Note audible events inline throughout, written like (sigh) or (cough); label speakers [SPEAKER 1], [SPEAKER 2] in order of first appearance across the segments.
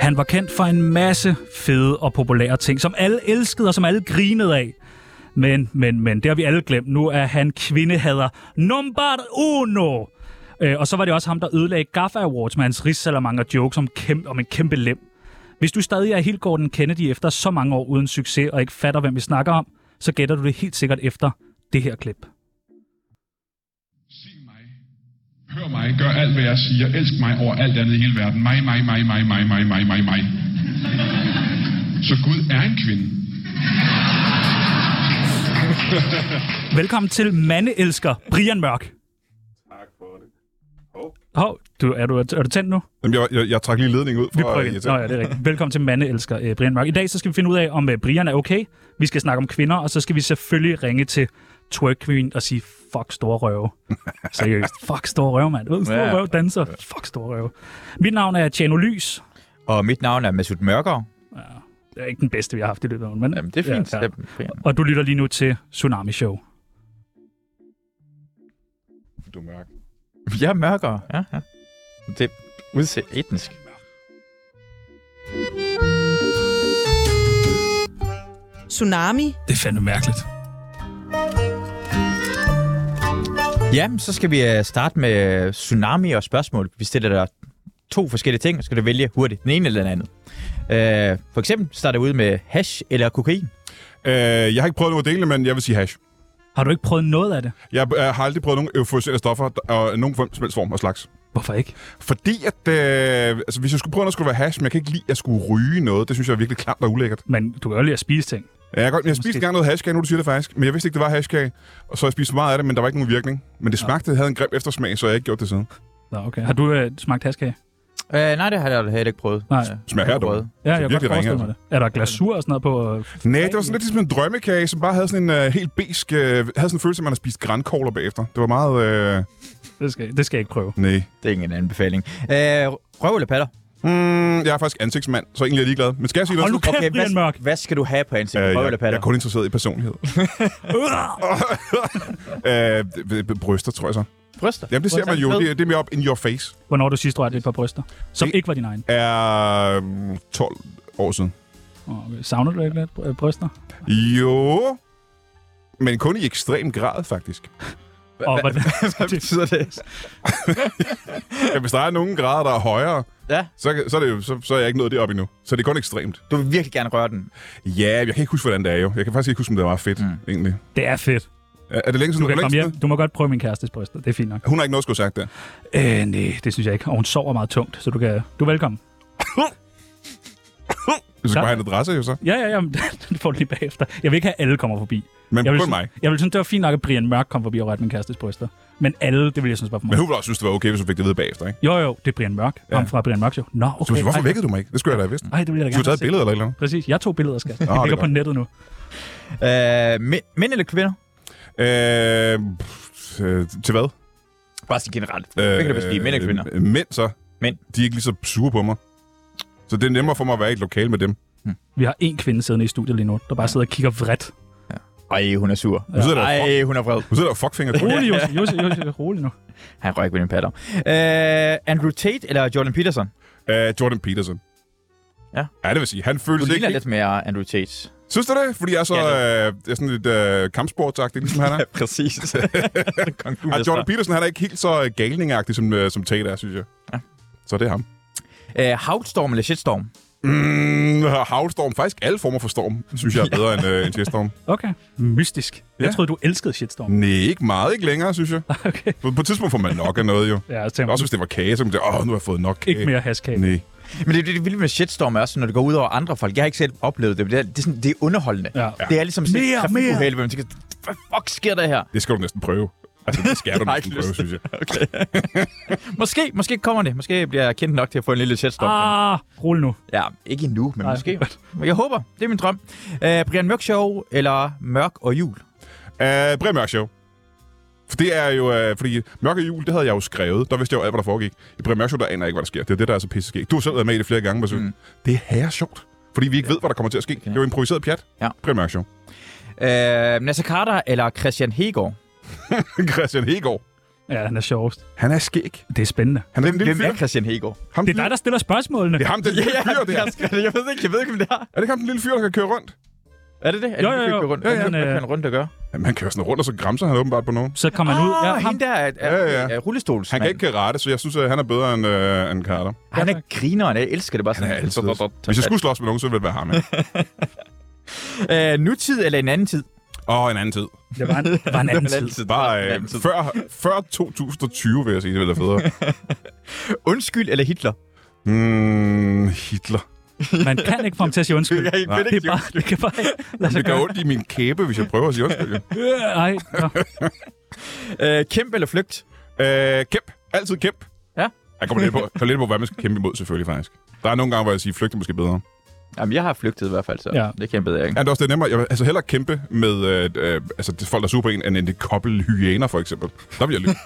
[SPEAKER 1] Han var kendt for en masse fede og populære ting, som alle elskede og som alle grinede af. Men, men, men, det har vi alle glemt. Nu er han kvindehader nummer uno. Øh, og så var det også ham, der ødelagde Gaffa Awards med hans rigssalamanger joke om, kæmpe, om en kæmpe lem. Hvis du stadig er helt Gordon Kennedy efter så mange år uden succes og ikke fatter, hvem vi snakker om, så gætter du det helt sikkert efter det her klip.
[SPEAKER 2] Se mig. Hør mig. Gør alt, hvad jeg siger. Elsk mig over alt andet i hele verden. Mig, mig, mig, mig, mig, mig, mig, mig, mig. Så Gud er en kvinde.
[SPEAKER 1] Velkommen til mandeelsker Brian Mørk.
[SPEAKER 3] Tak for det. Hov.
[SPEAKER 1] Hov, du, er, du, er du tændt nu?
[SPEAKER 3] Jamen, jeg, jeg, jeg trak lige ledningen ud for
[SPEAKER 1] Vi prøver
[SPEAKER 3] at
[SPEAKER 1] igen. Nå
[SPEAKER 3] irritere.
[SPEAKER 1] ja, det er rigtigt. Velkommen til Mandeelsker, øh, Brian Mørk. I dag så skal vi finde ud af, om øh, Brian er okay. Vi skal snakke om kvinder, og så skal vi selvfølgelig ringe til Twerk Queen og sige, fuck store røve. Seriøst. Fuck store røve, mand. Ved, store
[SPEAKER 4] Ja.
[SPEAKER 1] røve danser. Fuck store røve. Mit navn er Tjano Lys.
[SPEAKER 4] Og mit navn er Masud Mørker.
[SPEAKER 1] Det er ikke den bedste, vi har haft i løbet af ugen, men...
[SPEAKER 4] Jamen, det er fint. Ja, ja. fint.
[SPEAKER 1] Og du lytter lige nu til Tsunami Show.
[SPEAKER 3] Du er mørk.
[SPEAKER 4] (laughs) Jeg er mørkere. Ja, ja. Det udser etnisk.
[SPEAKER 5] Tsunami.
[SPEAKER 1] Det er fandme mærkeligt.
[SPEAKER 4] Jamen, så skal vi øh, starte med øh, tsunami og spørgsmål. Vi stiller dig to forskellige ting, og skal du vælge hurtigt den ene eller den anden. Øh, for eksempel starter vi ud med hash eller kokain.
[SPEAKER 3] Øh, jeg har ikke prøvet nogen af delene, men jeg vil sige hash.
[SPEAKER 1] Har du ikke prøvet noget af det?
[SPEAKER 3] Jeg øh, har aldrig prøvet nogen euforiserende stoffer og nogen form- som helst form og slags.
[SPEAKER 1] Hvorfor ikke?
[SPEAKER 3] Fordi at, øh, altså hvis jeg skulle prøve noget, skulle det være hash, men jeg kan ikke lide, at jeg skulle ryge noget. Det synes jeg er virkelig klamt og ulækkert.
[SPEAKER 1] Men du kan jo lide at spise ting.
[SPEAKER 3] Ja, Jeg, har godt, jeg spiste
[SPEAKER 1] Måske-
[SPEAKER 3] engang noget hashkage, nu du siger det faktisk, men jeg vidste ikke, det var hashkage. Og så har jeg spist for meget af det, men der var ikke nogen virkning. Men det smagte, det havde en grim eftersmag, så jeg har ikke gjort det siden.
[SPEAKER 1] Nå, okay. Har du øh, smagt haskage?
[SPEAKER 4] Øh, nej, det har jeg heller ikke prøvet.
[SPEAKER 1] Nej.
[SPEAKER 4] Øh,
[SPEAKER 3] Smager her, du.
[SPEAKER 4] prøvet.
[SPEAKER 1] Ja, jeg kan
[SPEAKER 3] virkelig
[SPEAKER 1] godt forestille
[SPEAKER 3] ringe,
[SPEAKER 1] mig det. Er der glasur og sådan noget på? øh,
[SPEAKER 3] Nej, det var sådan lidt ligesom en drømmekage, som bare havde sådan en øh, helt besk... Øh, havde sådan en følelse, at man har spist grankogler bagefter. Det var meget... Øh,
[SPEAKER 1] Det skal, det skal jeg ikke prøve.
[SPEAKER 3] nej.
[SPEAKER 4] Det er ingen anbefaling. Øh, røv eller (laughs) patter?
[SPEAKER 3] Mm, jeg er faktisk ansigtsmand, så egentlig er jeg ligeglad. Men skal jeg sige
[SPEAKER 1] Hold
[SPEAKER 3] noget?
[SPEAKER 1] nu kæft, okay, Brian Mørk.
[SPEAKER 4] hvad, hvad skal du have på ansigtet?
[SPEAKER 3] Øh,
[SPEAKER 4] Øh, røv
[SPEAKER 3] jeg,
[SPEAKER 4] eller
[SPEAKER 3] jeg
[SPEAKER 4] patter?
[SPEAKER 3] er kun interesseret i personlighed. (laughs) øh, b- b- bryster, tror jeg så.
[SPEAKER 4] Bryster?
[SPEAKER 3] Jamen, det ser man jo.
[SPEAKER 4] Fed.
[SPEAKER 3] Det, er- det er mere op in your face.
[SPEAKER 1] Hvornår du sidst rørte et par bryster, som
[SPEAKER 3] Det-
[SPEAKER 1] ikke var din egen.
[SPEAKER 3] Er mm, 12 år siden.
[SPEAKER 1] Åh, Okay. Savner du ikke lidt br- bryster?
[SPEAKER 3] Jo. Men kun i ekstrem grad, faktisk.
[SPEAKER 1] Og hvordan-
[SPEAKER 3] (laughs)
[SPEAKER 1] (laughs)
[SPEAKER 4] Hvad betyder (laughs) det?
[SPEAKER 3] Ja, Hvis der er nogen grader, der er højere,
[SPEAKER 4] Ja,
[SPEAKER 3] så, kan- så, er, det jo, så, så er jeg ikke nået derop endnu. Så det er kun ekstremt.
[SPEAKER 4] du vil virkelig gerne røre den.
[SPEAKER 3] Ja, jeg kan ikke huske, hvordan det er jo. Jeg kan faktisk ikke huske, om det var meget fedt, mm. egentlig.
[SPEAKER 1] Det er fedt.
[SPEAKER 3] Er, er det længe
[SPEAKER 1] Du
[SPEAKER 3] siden?
[SPEAKER 1] kan
[SPEAKER 3] er det
[SPEAKER 1] komme
[SPEAKER 3] længe
[SPEAKER 1] hjem. Du må godt prøve min kærestes bryster. Det er fint nok.
[SPEAKER 3] siden? Hun har ikke noget at skulle have sagt der.
[SPEAKER 1] Øh, nej, det synes jeg ikke. Og hun sover meget tungt, så du kan... Du er velkommen.
[SPEAKER 3] Du skal
[SPEAKER 1] Tak.
[SPEAKER 3] bare have en adresse, jo så.
[SPEAKER 1] Ja, ja, ja. men (laughs) Det får du lige bagefter. Jeg vil ikke have, at alle kommer forbi.
[SPEAKER 3] Men
[SPEAKER 1] jeg vil,
[SPEAKER 3] kun
[SPEAKER 1] synes-
[SPEAKER 3] mig.
[SPEAKER 1] Jeg vil synes, det var fint nok, at Brian Mørk kom forbi og rørte min kærestes bryster. Men alle, det ville jeg synes var for
[SPEAKER 3] Men
[SPEAKER 1] meget.
[SPEAKER 3] hun ville også synes, det var okay, hvis hun fik det ved bagefter, ikke?
[SPEAKER 1] Jo, jo, det er Brian Mørk. Ja. Ham fra Brian Mørk Show. Nå,
[SPEAKER 3] Så okay,
[SPEAKER 1] okay.
[SPEAKER 3] hvorfor
[SPEAKER 1] Ej,
[SPEAKER 3] vækkede du mig ikke? Det skulle jeg da have vidst.
[SPEAKER 4] Mm.
[SPEAKER 1] Ej, det vil jeg da gerne
[SPEAKER 3] Du har taget et
[SPEAKER 1] se.
[SPEAKER 3] billede eller et eller andet.
[SPEAKER 1] Præcis. Jeg tog billeder, skat.
[SPEAKER 3] det
[SPEAKER 1] Jeg
[SPEAKER 3] er
[SPEAKER 1] ligger på
[SPEAKER 3] godt.
[SPEAKER 1] nettet nu.
[SPEAKER 4] Øh, mæ- mænd eller kvinder?
[SPEAKER 3] Øh, pff, øh, til hvad?
[SPEAKER 4] Bare sådan generelt.
[SPEAKER 3] Øh,
[SPEAKER 4] Hvad kan du bedst lide? Mænd eller kvinder?
[SPEAKER 3] øh, Mænd så.
[SPEAKER 4] Mænd.
[SPEAKER 3] De er ikke lige så sure på mig. Så det er nemmere for mig at være i et lokal med dem.
[SPEAKER 1] Vi har én kvinde siddende i studiet lige nu, der bare sidder og kigger vredt.
[SPEAKER 4] Ej, hun er sur.
[SPEAKER 3] Nu sidder der og fuck-
[SPEAKER 4] Ej, hun er vred.
[SPEAKER 3] nu sidder der og fuckfinger på.
[SPEAKER 1] (laughs) Rolig, Jussi. Jussi, Jussi, rolig nu.
[SPEAKER 4] Han røg ikke ved din patter. Øh, Andrew Tate eller Jordan Peterson?
[SPEAKER 3] Øh, Jordan Peterson.
[SPEAKER 4] Ja.
[SPEAKER 3] Ja, det vil sige. Han
[SPEAKER 4] Du
[SPEAKER 3] føles
[SPEAKER 4] ligner
[SPEAKER 3] ikke...
[SPEAKER 4] lidt mere Andrew Tate.
[SPEAKER 3] Synes du det? Fordi jeg er så,
[SPEAKER 4] Ja,
[SPEAKER 3] øh, jeg er sådan lidt øh, kampsportsagtig, ligesom han er.
[SPEAKER 4] (laughs) præcis.
[SPEAKER 3] Ej,
[SPEAKER 4] altså.
[SPEAKER 3] Jordan Peterson, han er ikke helt så øh, galningagtig, som, øh, som Tate er, synes jeg.
[SPEAKER 4] Ja.
[SPEAKER 3] Så det er ham.
[SPEAKER 4] øh, Havstorm eller Shitstorm?
[SPEAKER 3] Mm, havstorm. Faktisk alle former for storm, synes
[SPEAKER 1] (laughs)
[SPEAKER 3] jeg er bedre end, øh, end shitstorm.
[SPEAKER 1] Okay. Mystisk. Ja. Jeg
[SPEAKER 3] Ja.
[SPEAKER 1] troede, du elskede shitstorm.
[SPEAKER 3] Nej, ikke meget, ikke længere, synes jeg.
[SPEAKER 1] (laughs) Okay.
[SPEAKER 3] På, på et tidspunkt får man nok af noget, jo.
[SPEAKER 1] Ja, jeg tænker,
[SPEAKER 3] Også hvis det var kage, så kunne man tænke, åh, nu har jeg fået nok kage.
[SPEAKER 1] ikke mere haskage.
[SPEAKER 3] Nej.
[SPEAKER 4] Men det, det, det vilde med shitstorm er også, når det går ud over andre folk. Jeg har ikke selv oplevet det, men det er, det er, sådan, det er underholdende.
[SPEAKER 1] Ja.
[SPEAKER 4] Det er ligesom sådan
[SPEAKER 1] Mere,
[SPEAKER 4] et
[SPEAKER 1] mere.
[SPEAKER 4] trafikuheld, hvor man tænker, hvad fuck sker der her?
[SPEAKER 3] Det skal du næsten prøve. Altså, det skal
[SPEAKER 1] (laughs)
[SPEAKER 3] du
[SPEAKER 4] Jeg har
[SPEAKER 3] næsten
[SPEAKER 4] ikke
[SPEAKER 3] prøve,
[SPEAKER 4] lyst.
[SPEAKER 3] synes jeg.
[SPEAKER 4] Okay. (laughs) måske, måske kommer det. Måske bliver jeg kendt nok til at få en lille shitstorm.
[SPEAKER 1] Ah, rul nu.
[SPEAKER 4] Ja, ikke endnu, men
[SPEAKER 1] Nej.
[SPEAKER 4] Nej. måske. Men jeg håber, det er min drøm. Øh, Brian Mørk Show eller Mørk og Jul?
[SPEAKER 3] Uh, Brian Mørk Show. For det er jo, øh, fordi Mørke Jul, det havde jeg jo skrevet. Der vidste jeg jo alt, hvad der foregik. I Brian Mørk Show, der aner jeg ikke, hvad der sker. Det er det, der er så pisseskægt. Du har selv været med i det flere gange, Mads. Mm. Det er herre sjovt. Fordi vi ikke ved, hvad der kommer til at ske. Det er jo improviseret pjat.
[SPEAKER 4] Ja.
[SPEAKER 3] Brian Mørk Show. (laughs)
[SPEAKER 4] Øh, Nasser Carter eller Christian Hegård?
[SPEAKER 3] Christian Hegård.
[SPEAKER 1] Ja, han er sjovest.
[SPEAKER 3] Han er skæg.
[SPEAKER 1] Det er spændende.
[SPEAKER 3] Han er den lille
[SPEAKER 4] Hvem
[SPEAKER 3] fyr.
[SPEAKER 4] er Christian Hegård?
[SPEAKER 3] Ham,
[SPEAKER 1] Det er dig, der stiller spørgsmålene.
[SPEAKER 3] det er ham, den lille fyr, det her.
[SPEAKER 4] jeg, skal, jeg ved ikke, jeg ved ikke, om det er.
[SPEAKER 3] Er det ikke ham, den lille fyr, der kan køre rundt?
[SPEAKER 4] Er det det? Er
[SPEAKER 1] Jo,
[SPEAKER 4] det,
[SPEAKER 1] jo,
[SPEAKER 4] det,
[SPEAKER 1] jo.
[SPEAKER 4] kører rundt?
[SPEAKER 1] Ja, ja.
[SPEAKER 4] Hvad
[SPEAKER 1] Men,
[SPEAKER 4] kører
[SPEAKER 1] øh,
[SPEAKER 4] han rundt og gør?
[SPEAKER 3] Jamen, han kører sådan rundt, og så græmser han åbenbart på nogen.
[SPEAKER 1] Så kommer han ud. Ja,
[SPEAKER 3] Ah,
[SPEAKER 4] ham
[SPEAKER 1] ham.
[SPEAKER 4] der er, er,
[SPEAKER 3] Ja, ja.
[SPEAKER 4] er rullestols.
[SPEAKER 3] Han kan ikke karate, så jeg synes, at han er bedre end, øh, end Carter.
[SPEAKER 4] han er grineren. Jeg elsker det bare sådan.
[SPEAKER 3] Han er altid. Hvis jeg skulle slås med nogen, så ville det være ham. ja.
[SPEAKER 4] Øh, nutid eller en anden tid?
[SPEAKER 3] Åh, en anden tid.
[SPEAKER 1] Det var en, det var en
[SPEAKER 3] (laughs)
[SPEAKER 1] anden tid.
[SPEAKER 3] Bare
[SPEAKER 4] En
[SPEAKER 3] øh,
[SPEAKER 4] anden tid.
[SPEAKER 3] før, før 2020, vil jeg sige, det ville være federe.
[SPEAKER 4] Undskyld eller Hitler?
[SPEAKER 3] Mm, Hitler.
[SPEAKER 1] Man kan ikke få ham til at sige undskyld.
[SPEAKER 4] Jeg kan ikke
[SPEAKER 1] det, er bare, det kan bare ikke lade sig
[SPEAKER 3] Det gør
[SPEAKER 1] gøre.
[SPEAKER 3] ondt i min kæbe, hvis jeg prøver at sige undskyld.
[SPEAKER 1] Øh, Ej, nå.
[SPEAKER 4] Øh, kæmp eller flygt?
[SPEAKER 3] Øh, kæmp. Altid kæmp.
[SPEAKER 4] Ja.
[SPEAKER 3] Jeg kommer lidt på, kommer lidt på, hvad man skal kæmpe imod, selvfølgelig faktisk. Der er nogle gange, hvor jeg siger, flygte måske bedre.
[SPEAKER 4] Jamen, jeg har flygtet i hvert fald, så
[SPEAKER 1] Ja.
[SPEAKER 4] det kæmpede jeg ikke.
[SPEAKER 3] Er det også det er nemmere? Jeg vil altså hellere kæmpe med øh, øh, altså, det er folk, der er super en, end en kobbel hyæner, for eksempel. Der vil jeg lykke.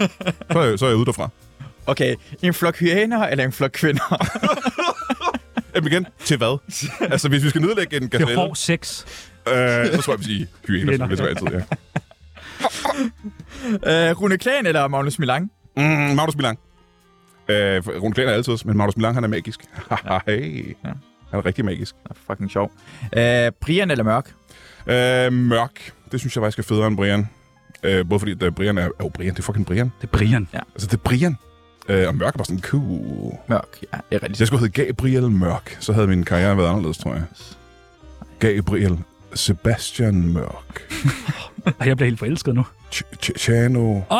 [SPEAKER 3] Så, er jeg- så er jeg ude derfra.
[SPEAKER 4] Okay, en flok hyæner eller en flok kvinder?
[SPEAKER 3] Jamen igen, til hvad? Altså, hvis vi skal nedlægge en
[SPEAKER 1] det
[SPEAKER 3] gazelle,
[SPEAKER 1] er hård sex.
[SPEAKER 3] øh, så tror jeg, vi siger hyæner,
[SPEAKER 1] Hyæner.
[SPEAKER 3] som det tror jeg altid, ja.
[SPEAKER 4] øh, Rune Klan eller Magnus Milang?
[SPEAKER 3] Mm, Magnus Milang. Øh, for- Rune Klan er altid, men Magnus Milang, han er magisk. (laughs) hey.
[SPEAKER 4] Ja.
[SPEAKER 3] Han er rigtig magisk.
[SPEAKER 4] Nå, fucking sjov. Øh, Brian eller Mørk?
[SPEAKER 3] Øh, mørk. Det synes jeg faktisk er federe end Brian. Øh, både fordi, at øh, Brian er... Oh, Brian, det er fucking Brian.
[SPEAKER 1] Det er Brian.
[SPEAKER 3] Altså, det er Brian. Øh, og mørk er bare sådan, cool.
[SPEAKER 4] Mørk, ja, det er rigtigt.
[SPEAKER 3] Hvis jeg skulle hedde Gabriel Mørk, så havde min karriere været anderledes, tror jeg. Gabriel Sebastian Mørk.
[SPEAKER 1] Ej, jeg bliver helt forelsket nu.
[SPEAKER 3] Ch- Ch- Chano...
[SPEAKER 1] Øj!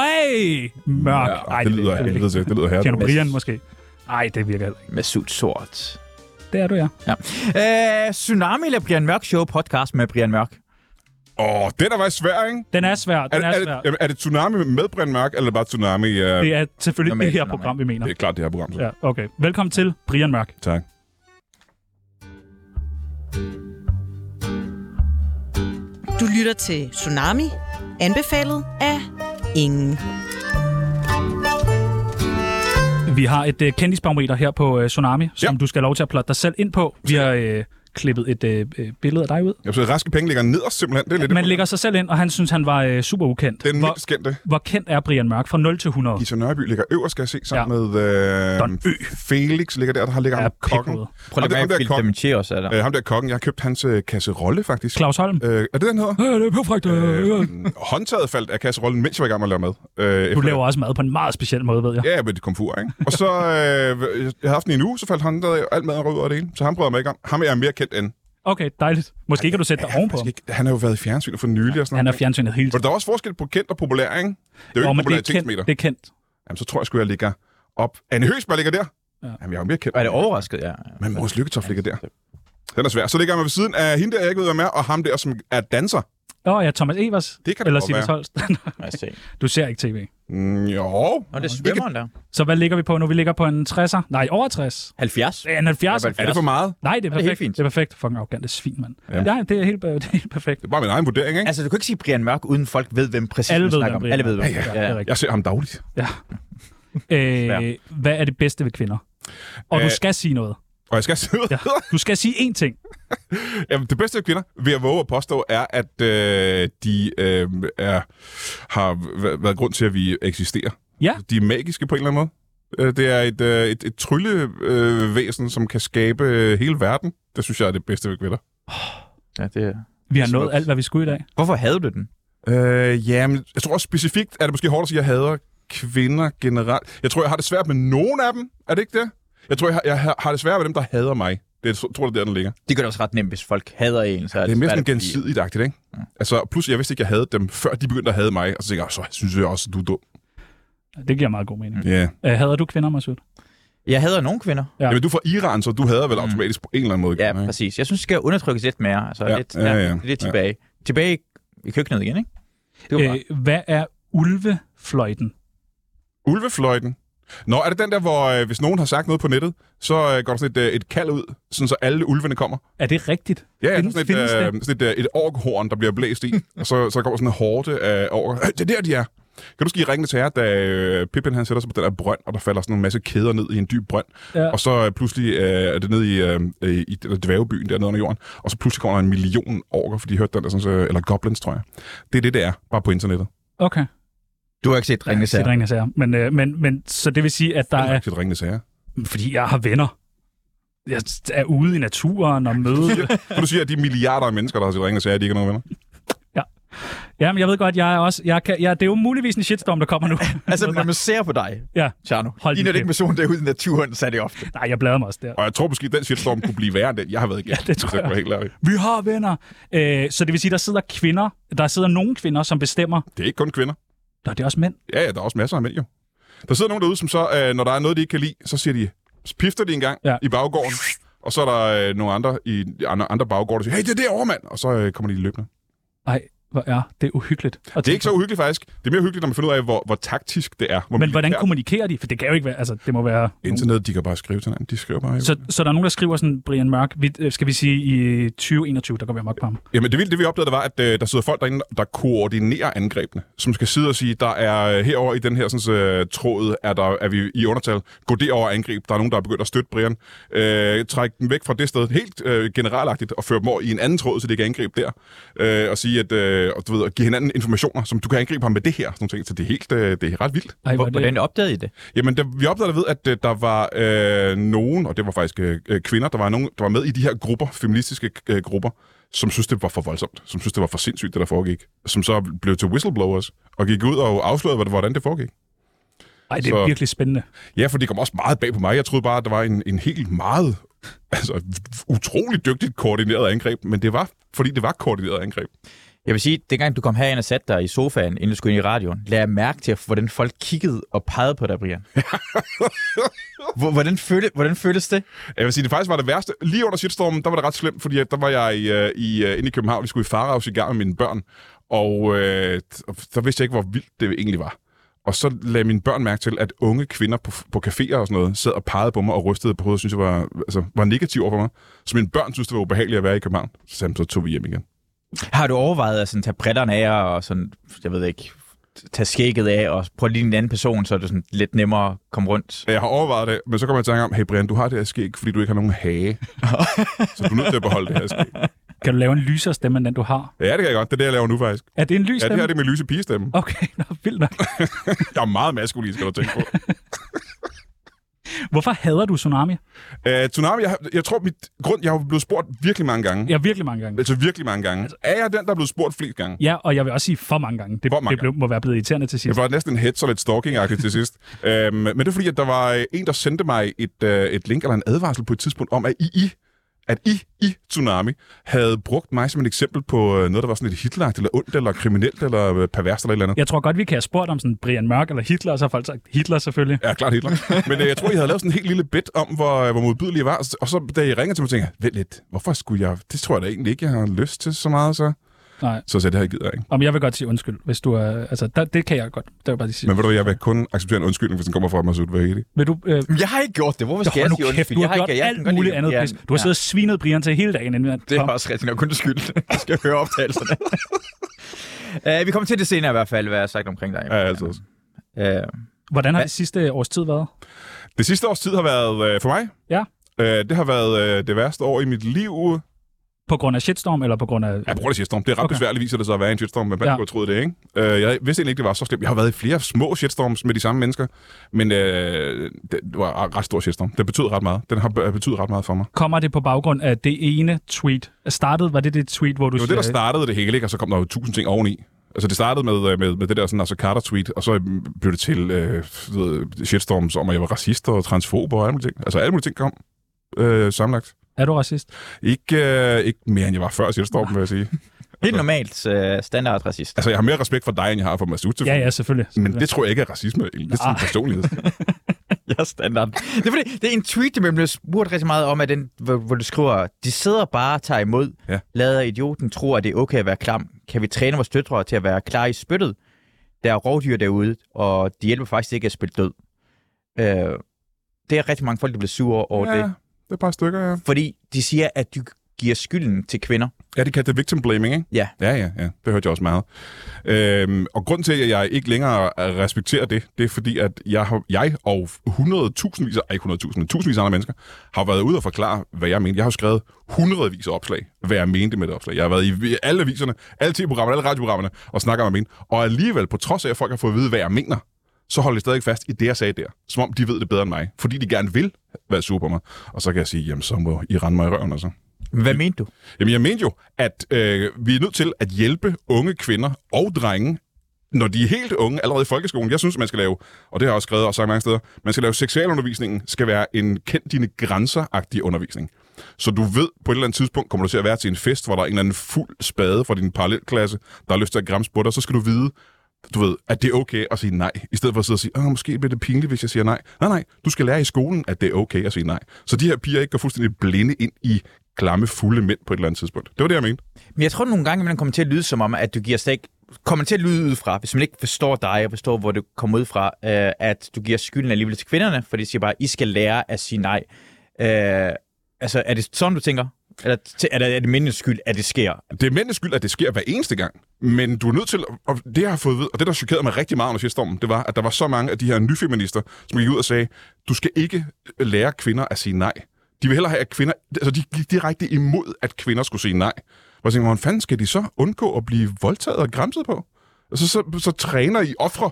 [SPEAKER 1] Mørk. Ej,
[SPEAKER 3] Ja, det lyder af
[SPEAKER 1] det,
[SPEAKER 3] helvede til. Det lyder
[SPEAKER 1] Tjener
[SPEAKER 3] herligt.
[SPEAKER 1] Brian måske. Ej, det virker heller ikke.
[SPEAKER 4] Med sut sort.
[SPEAKER 1] Det er du, ja.
[SPEAKER 4] Ja. Øh, tsunami eller Brian Mørk Show podcast med Brian Mørk?
[SPEAKER 3] Åh, den er faktisk svær, ikke?
[SPEAKER 1] Den er svær,
[SPEAKER 3] Er,
[SPEAKER 1] den
[SPEAKER 3] er,
[SPEAKER 1] er
[SPEAKER 3] det,
[SPEAKER 1] svær.
[SPEAKER 3] jamen, er det Tsunami med Brian Mørk, eller er det bare Tsunami? Uh, det,
[SPEAKER 1] Det er selvfølgelig
[SPEAKER 4] Normalt,
[SPEAKER 1] det her
[SPEAKER 4] normalt.
[SPEAKER 1] program, vi mener.
[SPEAKER 3] det er klart det her program. Så.
[SPEAKER 1] Ja, okay. Velkommen til Brian Mørk.
[SPEAKER 3] Tak.
[SPEAKER 5] Du lytter til Tsunami, anbefalet af ingen.
[SPEAKER 1] Vi har et øh, kendisbarometer her på øh, Tsunami, som
[SPEAKER 3] Ja.
[SPEAKER 1] du skal have lov til at plotte dig selv ind på. Vi har øh, klippet et øh, øh, billede af dig ud.
[SPEAKER 3] Jeg synes, raske penge ligger nederst simpelthen. Det er lidt
[SPEAKER 1] Man lægger sig selv ind, og han synes, han var øh, super ukendt.
[SPEAKER 3] Den
[SPEAKER 1] Hvor,
[SPEAKER 3] mindst kendte.
[SPEAKER 1] hvor kendt er Brian Mørk? Fra 0 til 100.
[SPEAKER 3] Gita Nørby ligger øverst, skal jeg se, sammen med
[SPEAKER 1] Don Ø.
[SPEAKER 3] øh, Felix ligger der, der har ligger
[SPEAKER 1] Ja,
[SPEAKER 3] ham kokken.
[SPEAKER 1] piphoved.
[SPEAKER 4] Prøv lige
[SPEAKER 3] Ham der- ham
[SPEAKER 4] at være
[SPEAKER 3] der kokken.
[SPEAKER 4] med os, er der.
[SPEAKER 3] Øh, ham der kokken, jeg har købt hans øh, kasserolle, faktisk.
[SPEAKER 1] Claus Holm.
[SPEAKER 3] Øh, er det den hedder?
[SPEAKER 1] Øh, det er perfekt.
[SPEAKER 3] Øh, håndtaget faldt af kasserollen, mens jeg var i gang med at lave mad.
[SPEAKER 1] Du
[SPEAKER 3] Øh, efter-
[SPEAKER 1] laver også mad på en meget speciel måde, ved jeg.
[SPEAKER 3] Ja, med det komfur, ikke? Og så, øh, jeg har haft den i en uge, så faldt håndtaget af, og alt maden rød over det hele. Så han prøver mig ikke om. Ham er jeg mere kendt end.
[SPEAKER 1] Okay, dejligt. Måske kan du sætte dig ovenpå.
[SPEAKER 3] Faktisk ikke- Han har jo været i fjernsynet for nylig og sådan
[SPEAKER 1] Han er
[SPEAKER 3] noget.
[SPEAKER 1] fjernsynet hele
[SPEAKER 3] For
[SPEAKER 1] tiden.
[SPEAKER 3] der er også forskel på kendt og populær, ikke? Det er jo
[SPEAKER 1] Åh,
[SPEAKER 3] ikke
[SPEAKER 1] men det er
[SPEAKER 3] popularitetsmeter.
[SPEAKER 1] kendt. Det er kendt.
[SPEAKER 3] Jamen, så tror jeg sgu, jeg ligger op. Anne Høgsberg ligger der.
[SPEAKER 1] Ja.
[SPEAKER 3] Ja. Jamen, jeg er jo mere kendt.
[SPEAKER 4] Er det overrasket? Ja.
[SPEAKER 3] Men Mors Lykketoft ligger der. Den er svær. Så ligger jeg mig ved siden af hende der, jeg ikke ved, hvad med, og ham der, som er danser.
[SPEAKER 1] Åh oh, ja, Thomas Evers.
[SPEAKER 3] Det kan det
[SPEAKER 1] Eller
[SPEAKER 3] godt
[SPEAKER 1] Sivas
[SPEAKER 3] være.
[SPEAKER 1] Holst. (laughs)
[SPEAKER 4] Lad os se.
[SPEAKER 1] du ser ikke tv.
[SPEAKER 3] Mm, jo.
[SPEAKER 4] Nå, det er svømmeren der.
[SPEAKER 1] Så hvad ligger vi på nu? Vi ligger på en 60'er. Nej, over 60.
[SPEAKER 4] 70?
[SPEAKER 1] Det er en 70.
[SPEAKER 4] Ja, hvad-
[SPEAKER 3] Er det for meget?
[SPEAKER 1] Nej, det er
[SPEAKER 4] helt
[SPEAKER 1] perfekt.
[SPEAKER 4] fint.
[SPEAKER 1] Det er perfekt. Fucking arrogante svin, mand. Ja. Nej, det er helt, øh, (laughs) det er helt perfekt.
[SPEAKER 3] Det er bare min egen vurdering, ikke?
[SPEAKER 4] Altså, du kan ikke sige Brian Mørk, uden folk ved, hvem præcis
[SPEAKER 1] Alle
[SPEAKER 4] man
[SPEAKER 1] ved,
[SPEAKER 4] snakker
[SPEAKER 1] hvem
[SPEAKER 4] om.
[SPEAKER 1] Brian
[SPEAKER 4] Alle ved,
[SPEAKER 1] Mørk
[SPEAKER 4] hvem
[SPEAKER 1] er.
[SPEAKER 4] Ja,
[SPEAKER 1] Ja,
[SPEAKER 4] ja.
[SPEAKER 1] det er rigtigt.
[SPEAKER 3] Jeg ser ham dagligt.
[SPEAKER 1] Ja. Øh, hvad er det bedste ved kvinder? Og du
[SPEAKER 3] Øh.
[SPEAKER 1] skal sige noget.
[SPEAKER 3] Og jeg skal sidde.
[SPEAKER 1] Ja.
[SPEAKER 3] Ja.
[SPEAKER 1] Du skal sige én ting.
[SPEAKER 3] (laughs) Jamen, det bedste af kvinder, vil jeg våge at påstå, er, at øh, de øh, er, har væ- været grund til, at vi eksisterer.
[SPEAKER 1] Ja.
[SPEAKER 3] De er magiske på en eller anden måde. Øh, Det er et, øh, et, et tryllevæsen, som kan skabe øh, hele verden. Det synes jeg er det bedste ved kvinder.
[SPEAKER 4] ja, det er...
[SPEAKER 1] Vi har
[SPEAKER 3] Smukt.
[SPEAKER 1] nået alt, hvad vi skulle i dag.
[SPEAKER 4] Hvorfor havde du den?
[SPEAKER 3] Øh, ja, men jeg tror også specifikt, er det måske hårdt at sige, at jeg hader kvinder generelt. Jeg tror, jeg har det svært med nogen af dem. Er det ikke det? Jeg tror, jeg har, jeg har- har det svært med dem, der hader mig. Det er, tror jeg, det er der, den ligger.
[SPEAKER 4] Det gør det også ret nemt, hvis folk hader en. Så
[SPEAKER 3] Det er mere
[SPEAKER 4] svært
[SPEAKER 3] sådan
[SPEAKER 4] at blive-
[SPEAKER 3] gensidigt agtigt, ikke? Altså, plus jeg vidste ikke, jeg havde dem, før de begyndte at have mig. Og så tænker jeg, så synes jeg også, at du er dum.
[SPEAKER 4] Mm.
[SPEAKER 1] Det giver meget god mening.
[SPEAKER 3] Ja. Yeah.
[SPEAKER 1] Øh, hader du kvinder, Masud?
[SPEAKER 4] Jeg hader nogle kvinder.
[SPEAKER 1] Ja.
[SPEAKER 3] Jamen, du er fra Iran, så du hader vel automatisk på en eller anden måde.
[SPEAKER 4] Mm. Ja,
[SPEAKER 3] kvinder, ikke?
[SPEAKER 4] præcis. Jeg synes, det skal undertrykkes lidt mere. Altså,
[SPEAKER 3] Ja,
[SPEAKER 4] lidt,
[SPEAKER 3] ja, ja,
[SPEAKER 4] lidt
[SPEAKER 3] ja.
[SPEAKER 4] tilbage. Tilbage i køkkenet igen, ikke? Det var øh,
[SPEAKER 1] Øh, hvad er ulvefløjten?
[SPEAKER 3] Ulvefløjten. Nå, er det den der, hvor øh, hvis nogen har sagt noget på nettet, så øh, går der sådan et, øh, et kald ud, sådan så alle ulvene kommer?
[SPEAKER 1] Er det rigtigt?
[SPEAKER 3] Ja, ja
[SPEAKER 1] Findes-
[SPEAKER 3] sådan, et,
[SPEAKER 1] findes det?
[SPEAKER 3] øh, sådan et, øh, et orkhorn, der bliver blæst i, og så, så går sådan en hårde af orker. Øh, det er der, de er! Kan du huske i ringene til jer, da øh, Pippin han sætter sig på den der brønd, og der falder sådan en masse kæder ned i en dyb brønd,
[SPEAKER 1] Ja.
[SPEAKER 3] og så øh, pludselig øh, er det nede i, øh, øh, i den der dvævebyen dernede under jorden, og så pludselig kommer der en million orker, fordi de hørte den der, sådan, så, eller goblins, tror jeg. Det er det, det er, bare på internettet.
[SPEAKER 1] Okay.
[SPEAKER 4] Du har ikke set Ringende
[SPEAKER 1] Til
[SPEAKER 4] Sager.
[SPEAKER 1] Ringende Sager. Men, øh, men, men, så det vil sige, at der
[SPEAKER 3] Nej.
[SPEAKER 1] er...
[SPEAKER 3] Til ringende sager.
[SPEAKER 1] Fordi jeg har venner. Jeg er ude i naturen og
[SPEAKER 3] (laughs)
[SPEAKER 1] møde...
[SPEAKER 3] For du siger, at de milliarder af mennesker, der har set ringende sager, de ikke har nogen venner.
[SPEAKER 1] Jamen, jeg ved godt, jeg er også... Jeg kan, jeg, det er jo muligvis en shitstorm, der
[SPEAKER 3] (laughs)
[SPEAKER 1] kommer nu.
[SPEAKER 4] Altså, når man ser på dig,
[SPEAKER 1] ja.
[SPEAKER 4] Tjerno,
[SPEAKER 1] Hold din
[SPEAKER 4] ligner det ikke
[SPEAKER 1] kæft.
[SPEAKER 4] personen derude i naturen, så er det ofte.
[SPEAKER 1] Nej, jeg bladrer mig også der.
[SPEAKER 3] Og jeg tror måske, at den shitstorm kunne blive værre end den, jeg har været igennem.
[SPEAKER 1] det tror
[SPEAKER 3] hvis
[SPEAKER 1] jeg.
[SPEAKER 3] var Helt ærlig.
[SPEAKER 1] Vi har venner. Øh, så det vil sige, der sidder kvinder, der sidder nogle kvinder, som bestemmer.
[SPEAKER 3] Det er ikke kun kvinder.
[SPEAKER 1] Der det er også mænd.
[SPEAKER 3] Ja, ja, der er også masser af mænd jo. Der sidder nogen derude, som så, øh, når der er noget, de ikke kan lide, så siger de, så pifter de en gang ja.
[SPEAKER 1] Ja.
[SPEAKER 3] i baggården. Og så er der øh, nogle andre i i andre, andre baggårde, der siger, hey, det er derovre, mand! Og så øh, kommer de løbende.
[SPEAKER 1] Nej, hvor er det uhyggeligt. Og
[SPEAKER 3] Det er ikke så uhyggeligt faktisk. Det er mere hyggeligt, når man finder ud af, hvor, hvor taktisk det er. Hvor
[SPEAKER 1] Men hvordan
[SPEAKER 3] militært.
[SPEAKER 1] kommunikerer de? For det kan jo ikke være... Altså, det må være...
[SPEAKER 3] Internet, de kan bare skrive til hinanden. De skriver bare. Jo.
[SPEAKER 1] Så,
[SPEAKER 3] Så...
[SPEAKER 1] så der er nogen, der skriver sådan, Brian Mørk, vi, øh, skal vi sige i 2021, der går vi amok på ham.
[SPEAKER 3] Jamen det vilde, det vi opdagede, det var, at øh, der sidder folk derinde, der koordinerer angrebene. Som skal sidde og sige, der er øh, herover i den her sådan, øh, tråd, er, der, er vi i undertal. Gå derover og angreb. Der er nogen, der er begyndt at støtte Brian. Øh, træk dem væk fra det sted helt øh, generalagtigt og føre dem over i en anden tråd, så de kan angribe der. Øh, og sige, at, øh, og, du ved, at give hinanden informationer, som du kan angribe ham med det her. Sådan nogle ting. Så det er, helt, øh, det er ret vildt.
[SPEAKER 1] Ej, hvor er det,
[SPEAKER 4] Hvordan opdagede I det?
[SPEAKER 3] Jamen, der, vi opdagede ved, at øh, der var øh, nogen, og det var faktisk øh, øh, kvinder, der var nogen, der var med i de her grupper, feministiske øh, grupper, som synes det var for voldsomt, som synes det var for sindssygt, det der foregik, som så blev til whistleblowers, og gik ud og afslørede, hvad- hvordan det foregik.
[SPEAKER 1] Ej, det er
[SPEAKER 3] så-
[SPEAKER 1] virkelig spændende.
[SPEAKER 3] Ja, for det kom også meget bag på mig. Jeg troede bare, at der var en, en helt meget, altså utrolig dygtigt koordineret angreb, men det var, fordi det var koordineret angreb.
[SPEAKER 4] Jeg vil sige, dengang du kom herind og satte dig i sofaen, inden du skulle ind i radioen, lagde jeg mærke til, hvordan folk kiggede og pegede på dig, (laughs) Brian. Hvor- hvordan, følte, hvordan føltes det?
[SPEAKER 3] Jeg vil sige, det faktisk var det værste. Lige under shitstormen, der var det ret slemt, fordi at der var jeg i, øh, i, øh, inde i København. Vi skulle i Farag cigar med mine børn, og øh, der vidste jeg ikke, hvor vildt det egentlig var. Og så lagde mine børn mærke til, at unge kvinder på, på caféer og sådan noget sad og pegede på mig og rystede på hovedet, og syntes, jeg var, altså, var negativ over for mig. Så mine børn syntes, det var ubehageligt at være i København. Så, sagde, de, så tog vi hjem igen.
[SPEAKER 4] Har du overvejet at sådan, tage bretterne af og sådan, jeg ved ikke, tage skægget af og prøve lige en anden person, så er det sådan lidt nemmere at komme rundt?
[SPEAKER 3] Jeg har overvejet det, men så kommer jeg i tanke om, hey Brian, du har det her skæg, fordi du ikke har nogen hage. så du er nødt til at beholde det her skæg.
[SPEAKER 1] Kan du lave en lysere stemme, end den du har?
[SPEAKER 3] Ja, det kan jeg godt. Det er det, jeg laver nu faktisk.
[SPEAKER 1] Er det en
[SPEAKER 3] Ja,
[SPEAKER 1] lys
[SPEAKER 3] det
[SPEAKER 1] stemme?
[SPEAKER 3] her det er min lyse pigestemme.
[SPEAKER 1] Okay, (laughs) nå, vildt nok.
[SPEAKER 3] Jeg er meget maskulin, skal du tænke på.
[SPEAKER 1] Hvorfor hader du Tsunami?
[SPEAKER 3] Øh, tsunami, jeg, har- jeg tror, mit grund, jeg er jo blevet spurgt virkelig mange gange. Ja.
[SPEAKER 1] Ja, virkelig mange gange.
[SPEAKER 3] Altså virkelig mange gange. Er jeg den, der er blevet spurgt flest gange?
[SPEAKER 1] Ja, og jeg vil også sige for mange gange. Det,
[SPEAKER 3] For mange
[SPEAKER 1] det blev, må være blevet irriterende til
[SPEAKER 3] Jeg
[SPEAKER 1] sidst.
[SPEAKER 3] var næsten en heads og lidt stalking til (laughs) sidst. øhm, men det er fordi, at der var øh, en, der sendte mig et, øh, et link eller en advarsel på et tidspunkt om, at I, I at I i Tsunami havde brugt mig som et eksempel på øh, noget, der var sådan lidt hitleragt, eller ondt, eller kriminelt, eller øh, perverst, eller et eller andet.
[SPEAKER 1] Jeg tror godt, vi kan have spurgt om sådan Brian Mørk eller Hitler, og så har folk sagt Hitler selvfølgelig.
[SPEAKER 3] Ja, klart (laughs) Hitler. Men øh, jeg tror, I havde lavet sådan en helt lille bit om, hvor, øh, hvor modbydelig jeg var. Og så- Og så da I ringer til mig, tænker jeg, vent lidt, hvorfor skulle jeg... Det tror jeg da egentlig ikke, jeg har lyst til så meget, så...
[SPEAKER 1] Nej.
[SPEAKER 3] Så sagde jeg, det her gider jeg ikke.
[SPEAKER 1] Om jeg vil godt sige undskyld, hvis du er... Altså, der, det kan jeg godt. Det var bare det sige.
[SPEAKER 3] Men ved du, hvad, jeg vil kun acceptere en undskyldning, hvis den kommer fra Masoud Vahedi.
[SPEAKER 1] Vil du... Øh,
[SPEAKER 4] Jeg har ikke gjort det. Hvorfor
[SPEAKER 1] Hold
[SPEAKER 4] skal jeg
[SPEAKER 1] nu
[SPEAKER 4] sige
[SPEAKER 1] kæft,
[SPEAKER 4] undskyld?
[SPEAKER 1] du
[SPEAKER 4] jeg
[SPEAKER 1] har gjort
[SPEAKER 4] ikke, jeg
[SPEAKER 1] alt muligt andet pis. Du har siddet og svinet Brian til hele dagen, inden han
[SPEAKER 4] Det er
[SPEAKER 1] kom.
[SPEAKER 4] også rigtig nok kun skyld. (laughs) Jeg skal høre (laughs) optagelserne. uh, vi kommer til det senere i hvert fald, hvad jeg har sagt omkring dig.
[SPEAKER 3] Ja, altså. også.
[SPEAKER 4] Uh,
[SPEAKER 1] Hvordan har
[SPEAKER 4] Hva-
[SPEAKER 1] det sidste års tid været?
[SPEAKER 3] Det sidste års tid har været øh, for mig.
[SPEAKER 1] Ja.
[SPEAKER 3] Øh, det har været øh, det værste år i mit liv.
[SPEAKER 1] På grund af shitstorm, eller på grund af...
[SPEAKER 3] Jeg bruger det shitstorm. Det er ret okay.
[SPEAKER 1] Okay.
[SPEAKER 3] besværligt, viser det sig at være i en shitstorm, men man
[SPEAKER 1] Ja.
[SPEAKER 3] ja. kunne tro det, ikke? Øh, jeg vidste egentlig ikke, det var så slemt. Jeg har været i flere små shitstorms med de samme mennesker, men øh, det var en ret stor shitstorm. Den betød ret meget. Den har be- betydet ret meget for mig.
[SPEAKER 1] Kommer det på baggrund af det ene tweet? Startede, var det det tweet, hvor du
[SPEAKER 3] Det var det, der startede det hele, ikke? og så kom der jo tusind ting oveni. Altså, det startede med, øh, med, med det der sådan, altså Carter-tweet, og så øhm, blev det til øh, du ved, shitstorms om, at jeg var racist og transfob og alle mulige ting. Altså, alle mulige ting kom øh, sammenlagt.
[SPEAKER 1] Er du racist?
[SPEAKER 3] Ikke, øh, ikke mere, end jeg var før shitstorm, vil jeg sige.
[SPEAKER 4] helt normalt uh, standard racist.
[SPEAKER 3] Altså, jeg har mere respekt for dig, end jeg har for Masoud.
[SPEAKER 1] Ja,
[SPEAKER 3] selvfølgelig.
[SPEAKER 1] ja, selvfølgelig.
[SPEAKER 3] Men det tror jeg ikke er racisme. egentlig. Det er sådan en
[SPEAKER 1] Nej.
[SPEAKER 3] personlighed.
[SPEAKER 4] Ja, standard. Det er, fordi, det er en tweet, der bliver spurgt rigtig meget om, at den, hvor, hvor du skriver, de sidder bare og tager imod,
[SPEAKER 3] Ja.
[SPEAKER 4] ja. lader idioten tro, at det er okay at være klam. Kan vi træne vores døtre til at være klar i spyttet? Der er rovdyr derude, og de hjælper faktisk ikke at spille død. Øh, det er rigtig mange folk, der bliver sure over ja. det.
[SPEAKER 3] det er et par stykker, ja.
[SPEAKER 4] Fordi de siger, at de giver skylden til kvinder.
[SPEAKER 3] Ja, det kaldte det victim blaming, ikke?
[SPEAKER 4] Ja.
[SPEAKER 3] Ja, ja, ja. Det hørte jeg også meget. Øhm, og grund til, at jeg ikke længere respekterer det, det er fordi, at jeg, har, jeg og 100.000vis, ej ikke 100.000, men tusindvis af andre mennesker, har været ude og forklare, hvad jeg mente. Jeg har jo skrevet hundredvis af opslag, hvad jeg mente med det opslag. Jeg har været i alle aviserne, alle tv-programmerne, alle radioprogrammerne og snakker om, hvad jeg mente. Og alligevel, på trods af, at folk har fået at vide, hvad jeg mener, så holder de stadig fast i det, jeg sagde der. Som om de ved det bedre end mig. Fordi de gerne vil være sure på mig. Og så kan jeg sige, jamen så må I rende mig i røven, altså.
[SPEAKER 4] Hvad mente du?
[SPEAKER 3] Jamen, jeg mente jo, at øh, vi er nødt til at hjælpe unge kvinder og drenge, når de er helt unge, allerede i folkeskolen. Jeg synes, man skal lave, og det har jeg også skrevet og sagt mange steder, man skal lave seksualundervisningen, skal være en kend dine grænser-agtig undervisning. Så du ved, på et eller andet tidspunkt kommer du til at være til en fest, hvor der er en eller anden fuld spade fra din parallelklasse, der har lyst til at græmse på dig, så skal du vide, du ved, at det er okay at sige nej, i stedet for at sidde og sige, Åh, måske bliver det pinligt, hvis jeg siger nej. Nej, nej, du skal lære i skolen, at det er okay at sige nej. Så de her piger ikke går fuldstændig blinde ind i klamme, fulde mænd på et eller andet tidspunkt. Det var det, jeg mente.
[SPEAKER 4] Men jeg tror nogle gange, at man kommer til at lyde som om, at du giver slet ikke kommer til at lyde udefra, hvis man ikke forstår dig og forstår, hvor du kommer ud fra, øh, at du giver skylden alligevel til kvinderne, for de siger bare, I skal lære at sige nej. Øh, altså, er det sådan, du tænker? Eller t- er det, er det mændenes skyld, at det sker?
[SPEAKER 3] Det er mændenes skyld, at det sker hver eneste gang. Men du er nødt til, og det jeg har fået ved, og det der chokerede mig rigtig meget under shitstormen, det var, at der var så mange af de her nyfeminister, som gik ud og sagde, du skal ikke lære kvinder at sige nej. De vil hellere have, at kvinder, altså de gik direkte imod, at kvinder skulle sige nej. Og jeg tænkte, hvordan fanden skal de så undgå at blive voldtaget og græmset på? Altså, så, så, så træner I ofre.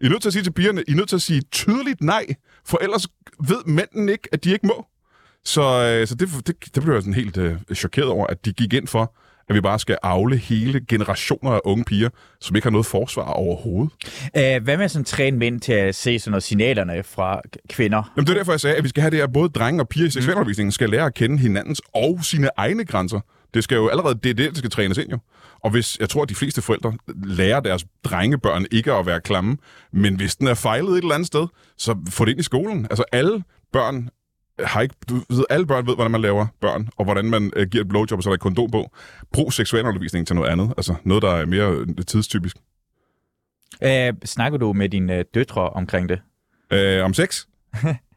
[SPEAKER 3] I er nødt til at sige til pigerne, I er nødt til at sige tydeligt nej, for ellers ved mændene ikke, at de ikke må. Så, øh, så det, det, det blev jeg sådan helt øh, chokeret over, at de gik ind for, at vi bare skal afle hele generationer af unge piger, som ikke har noget forsvar overhovedet.
[SPEAKER 4] Øh, hvad med sådan at træne mænd til at se sådan noget signalerne fra k- kvinder?
[SPEAKER 3] Jamen, det er derfor, jeg sagde, at vi skal have det her, både drenge og piger i seksualundervisningen skal lære at kende hinandens og sine egne grænser. Det skal jo allerede, det er det, der skal trænes ind jo. Og hvis, jeg tror, at de fleste forældre lærer deres drengebørn ikke at være klamme, men hvis den er fejlet et eller andet sted, så få det ind i skolen. Altså alle børn har ikke, du ved, alle børn ved, hvordan man laver børn, og hvordan man øh, giver et blowjob, og så er der et kondom på. Brug seksualundervisning til noget andet, altså noget, der er mere øh, tidstypisk.
[SPEAKER 4] Øh, snakker du med dine øh, døtre omkring det?
[SPEAKER 3] Øh, om sex?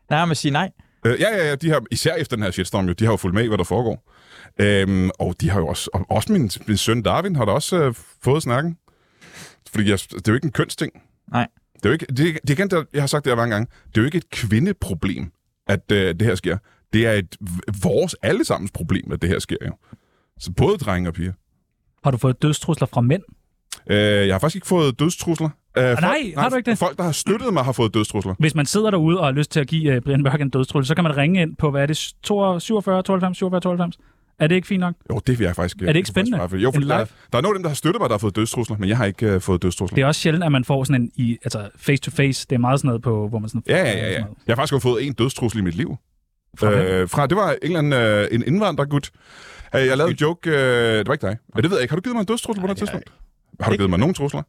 [SPEAKER 4] Nej, men sige nej.
[SPEAKER 3] Øh, ja, ja, ja, de har, især efter den her shitstorm, jo, de har jo fulgt med i, hvad der foregår. Øhm, og de har jo også, og også min, min søn Darwin har da også øh, fået snakken. Fordi jeg, det er jo ikke en kønsting.
[SPEAKER 4] Nej.
[SPEAKER 3] Det er jo ikke, det, er- det er igen, der, jeg har sagt det her mange gange, det er jo ikke et kvindeproblem, at øh, det her sker. Det er et v- vores allesammens problem, at det her sker jo. Så både drenge og piger.
[SPEAKER 1] Har du fået dødstrusler fra mænd?
[SPEAKER 3] Øh, jeg har faktisk ikke fået dødstrusler. Øh, folk,
[SPEAKER 1] Ah, nej, har du ikke det?
[SPEAKER 3] Folk, der har støttet mig, har fået dødstrusler.
[SPEAKER 1] Hvis man sidder derude og har lyst til at give uh, Brian Mørk en dødstrussel, så kan man ringe ind på, hvad er det, 42, 47, 92, 47, 92? Er det ikke fint nok?
[SPEAKER 3] Jo, det vil jeg faktisk...
[SPEAKER 1] Er det ikke spændende?
[SPEAKER 3] Faktisk, jo,
[SPEAKER 1] En
[SPEAKER 3] fordi der,
[SPEAKER 1] live?
[SPEAKER 3] der er nogle af dem, der har støttet mig, der har fået dødstrusler, men jeg har ikke øh, fået dødstrusler.
[SPEAKER 1] Det er også sjældent, at man får sådan en i, altså face-to-face. Det er meget sådan noget på, hvor man sådan...
[SPEAKER 3] Ja, ja, ja, ja.
[SPEAKER 1] sådan
[SPEAKER 3] Jeg
[SPEAKER 1] noget.
[SPEAKER 3] har faktisk kun fået en dødstrussel i mit liv.
[SPEAKER 1] Fra hvem?
[SPEAKER 3] øh, fra det var en eller anden øh, en indvandrergut. Øh, jeg lavede en joke. Øh, det var ikke dig. Ja, det ved jeg ikke. Har du givet mig en dødstrussel på noget
[SPEAKER 4] Nej, det har jeg
[SPEAKER 3] tidspunkt? Har du givet mig nogen trusler?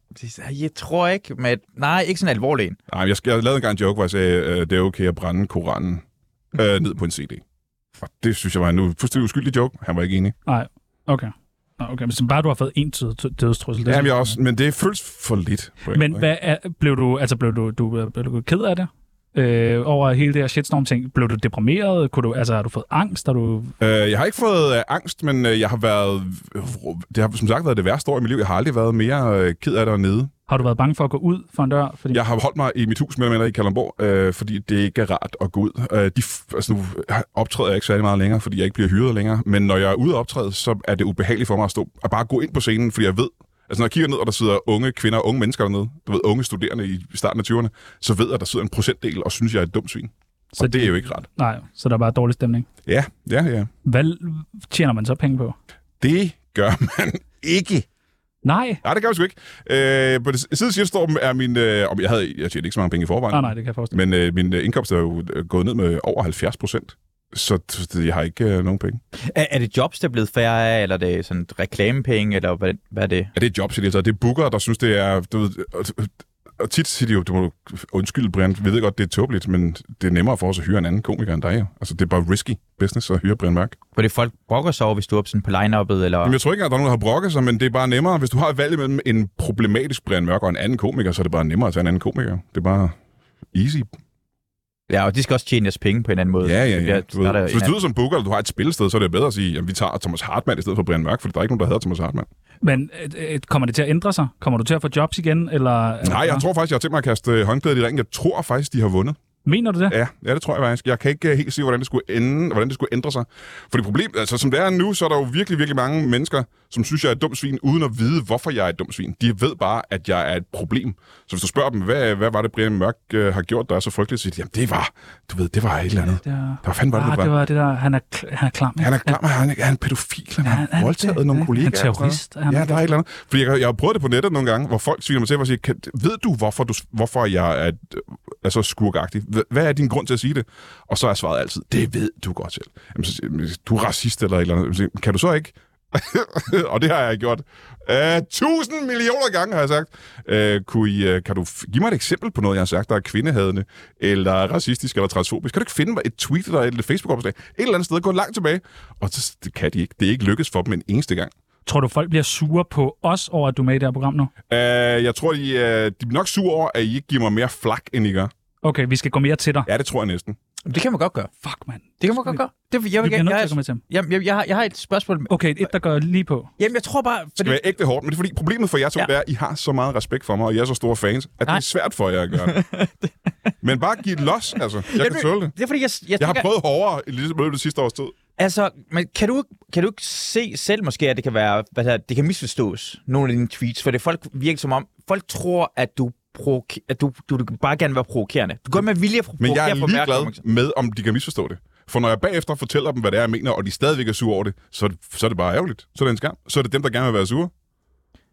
[SPEAKER 4] Jeg tror ikke, men... Nej, ikke sådan alvorlig en.
[SPEAKER 3] Nej, jeg, jeg lavede engang en joke, hvor jeg sagde, øh, det er okay at brænde Koranen øh, ned på en CD. Og det synes jeg var en u- fuldstændig uskyldig joke. Han var ikke enig.
[SPEAKER 1] Nej, okay. Nå, okay, men så bare du har fået en død- dødstrussel. det er
[SPEAKER 3] Jamen, jeg
[SPEAKER 1] sådan-
[SPEAKER 3] også, men det føles for lidt. på en
[SPEAKER 1] Men
[SPEAKER 3] måde,
[SPEAKER 1] hvad er, blev du, altså blev du, du, blev du ked af det? Øh, over hele det her shitstorm-ting. Blev du deprimeret? Kunne du, altså, har du fået angst? Har du...
[SPEAKER 3] Øh, jeg har ikke fået øh, angst, men øh, jeg har været... Det har som sagt været det værste år i mit liv. Jeg har aldrig været mere øh, ked af det nede.
[SPEAKER 1] Har du været bange for at gå ud for en dør? Fordi...
[SPEAKER 3] Jeg har holdt mig i mit hus mere eller mindre i Kalamborg, øh, fordi det ikke er rart at gå ud. Øh, de, f- altså, nu optræder jeg ikke særlig meget længere, fordi jeg ikke bliver hyret længere. Men når jeg er ude og optræde, så er det ubehageligt for mig at stå og bare gå ind på scenen, fordi jeg ved, Altså når jeg kigger ned, og der sidder unge kvinder og unge mennesker dernede, du ved, unge studerende i starten af 20'erne, så ved jeg, at der sidder en procentdel og synes, jeg er et dumt svin.
[SPEAKER 1] Så
[SPEAKER 3] Så og det er jo ikke rart.
[SPEAKER 1] Nej, så der er bare dårlig stemning.
[SPEAKER 3] Ja, ja, ja.
[SPEAKER 1] Hvad tjener man så penge på?
[SPEAKER 3] Det gør (laughs) man ikke.
[SPEAKER 1] Nej.
[SPEAKER 3] Nej, det gør vi sgu ikke. Øh, på det siden sidste storm er min... Øh, om jeg, havde, jeg tjente ikke så mange penge i forvejen.
[SPEAKER 1] Nej, nej, det kan jeg forestille mig.
[SPEAKER 3] Men øh, min øh, indkomst er jo øh, gået ned med over 70 procent, så t- jeg har ikke øh, nogen penge.
[SPEAKER 4] Er, er det jobs, der er blevet færre af, eller er det sådan reklamepenge, eller hvad, hvad er det?
[SPEAKER 3] Ja, det er jobs i det hele taget. Det er booker, der synes, det er... Du ved, og, og tit siger de jo, du må undskylde, Brian, vi ved godt, det er tåbeligt, men det er nemmere for os at hyre en anden komiker end dig. Jo. Altså, det er bare risky business at hyre Brian Mørk.
[SPEAKER 4] For det folk brokker sig over, hvis du er oppe sådan på line-uppet, eller...
[SPEAKER 3] Jamen, jeg tror ikke, at der er nogen, der har brokket sig, men det er bare nemmere. Hvis du har et valg mellem en problematisk Brian Mørk og en anden komiker, så er det bare nemmere at tage en anden komiker. Det er bare easy.
[SPEAKER 4] Ja, og de skal også tjene deres penge på en anden måde.
[SPEAKER 3] Ja, ja,
[SPEAKER 4] Det
[SPEAKER 3] ja.
[SPEAKER 4] bliver-
[SPEAKER 3] Du ved,
[SPEAKER 4] der er
[SPEAKER 3] hvis du
[SPEAKER 4] hinanden.
[SPEAKER 3] lyder som booker, eller du har et spillested, så er det bedre at sige, at vi tager Thomas Hartmann i stedet for Brian Mørk, for der er ikke nogen, der hedder Thomas Hartmann.
[SPEAKER 1] Men øh, øh, kommer det til at ændre sig? Kommer du til at få jobs igen? Eller, øh,
[SPEAKER 3] Nej, jeg tror faktisk, jeg har tænkt mig at kaste øh, håndklædet i ringen. Jeg tror faktisk, de har vundet.
[SPEAKER 1] Mener du det?
[SPEAKER 3] Ja, ja, det tror jeg faktisk. Jeg kan ikke øh, helt se, hvordan det skulle ende, hvordan det skulle ændre sig. Fordi problemet, altså som det er nu, så er der jo virkelig, virkelig mange mennesker, som synes, jeg er et dumt svin, uden at vide, hvorfor jeg er et dumt svin. De ved bare, at jeg er et problem. Så hvis du spørger dem, hvad, hvad var det, Brian Mørk øh, har gjort, der er så frygteligt, så siger de, jamen det var, du ved, det var et eller andet.
[SPEAKER 1] Det var,
[SPEAKER 3] Der var fandme var det,
[SPEAKER 1] ah,
[SPEAKER 3] det
[SPEAKER 1] det
[SPEAKER 3] var.
[SPEAKER 1] var det der, han er, kl- han er klam. ikke?
[SPEAKER 3] Han er klar med, at han er han er pædofil, han
[SPEAKER 1] han er
[SPEAKER 3] har
[SPEAKER 1] det,
[SPEAKER 3] voldtaget nogle
[SPEAKER 1] ikke?
[SPEAKER 3] kollegaer.
[SPEAKER 1] Han er terrorist,
[SPEAKER 3] og sådan noget.
[SPEAKER 1] han er-
[SPEAKER 3] Ja, der er et eller andet. Fordi jeg, jeg har prøvet det på nettet nogle gange, hvor folk sviner mig til og siger, kan, ved du, hvorfor, du, hvorfor jeg er, øh, er så skurkagtig? Hva- Hvad er din grund til at sige det? Og så er svaret altid, det ved du godt selv. Jamen, så, siger jeg, du er racist eller et eller andet. Jamen, så siger jeg, Kan du så ikke? (laughs) og det har jeg gjort. Øh, tusind millioner gange har jeg sagt. Øh, kunne I, øh, kan du f- give mig et eksempel på noget, jeg har sagt, der er kvindehadende, eller racistisk, eller transfobisk? Kan du ikke finde mig et tweet eller et Facebook-opslag? Et eller andet sted, gå langt tilbage. Og så, det kan de ikke. Det er ikke lykkedes for dem en eneste gang.
[SPEAKER 1] Tror du, folk bliver sure på os over, at du er med i det her program nu?
[SPEAKER 3] Øh, jeg tror, de, øh, de er nok sure over, at I ikke giver mig mere flak, end I gør.
[SPEAKER 1] Okay, vi skal gå mere til dig.
[SPEAKER 3] Ja, det tror jeg næsten.
[SPEAKER 4] Det kan man godt gøre.
[SPEAKER 1] Fuck, mand.
[SPEAKER 4] Det kan man godt gøre. Det, jeg,
[SPEAKER 1] Vi
[SPEAKER 4] vil
[SPEAKER 1] bliver
[SPEAKER 4] gerne,
[SPEAKER 1] nødt til
[SPEAKER 4] jeg, har-
[SPEAKER 1] at gå med til ham.
[SPEAKER 4] jamen, jeg, jeg, har, jeg har et spørgsmål.
[SPEAKER 1] Okay, et der går lige på.
[SPEAKER 4] Jamen, jeg tror bare...
[SPEAKER 3] Det
[SPEAKER 4] Fordi,
[SPEAKER 3] skal være ægte hårdt, men det er fordi, problemet for jer to,
[SPEAKER 4] Ja.
[SPEAKER 3] ja. det er, at I har så meget respekt for mig, og I er så store fans, at Nej. det
[SPEAKER 4] Nej.
[SPEAKER 3] er svært for jer at gøre (laughs) det. men bare giv los, altså. Jeg kan tåle det.
[SPEAKER 4] det er fordi, jeg, jeg,
[SPEAKER 3] Jeg har
[SPEAKER 4] tænker-
[SPEAKER 3] prøvet hårdere i løbet af det sidste års tid.
[SPEAKER 4] Altså, men kan du, kan du ikke se selv måske, at det kan, være, hvad der, det kan misforstås, nogle af dine tweets? For det folk virker som om, folk tror, at du, provoke- at du, du, du kan bare gerne vil være provokerende. Du går med vilje at provokere
[SPEAKER 3] Men jeg er
[SPEAKER 4] for at mærke,
[SPEAKER 3] ligeglad med, om de kan misforstå det. For når jeg bagefter fortæller dem, hvad det er, jeg mener, og de stadigvæk er sure over det, så, er det- så er det bare ærgerligt. Så er det en skam. Så er det dem, der gerne vil være sure.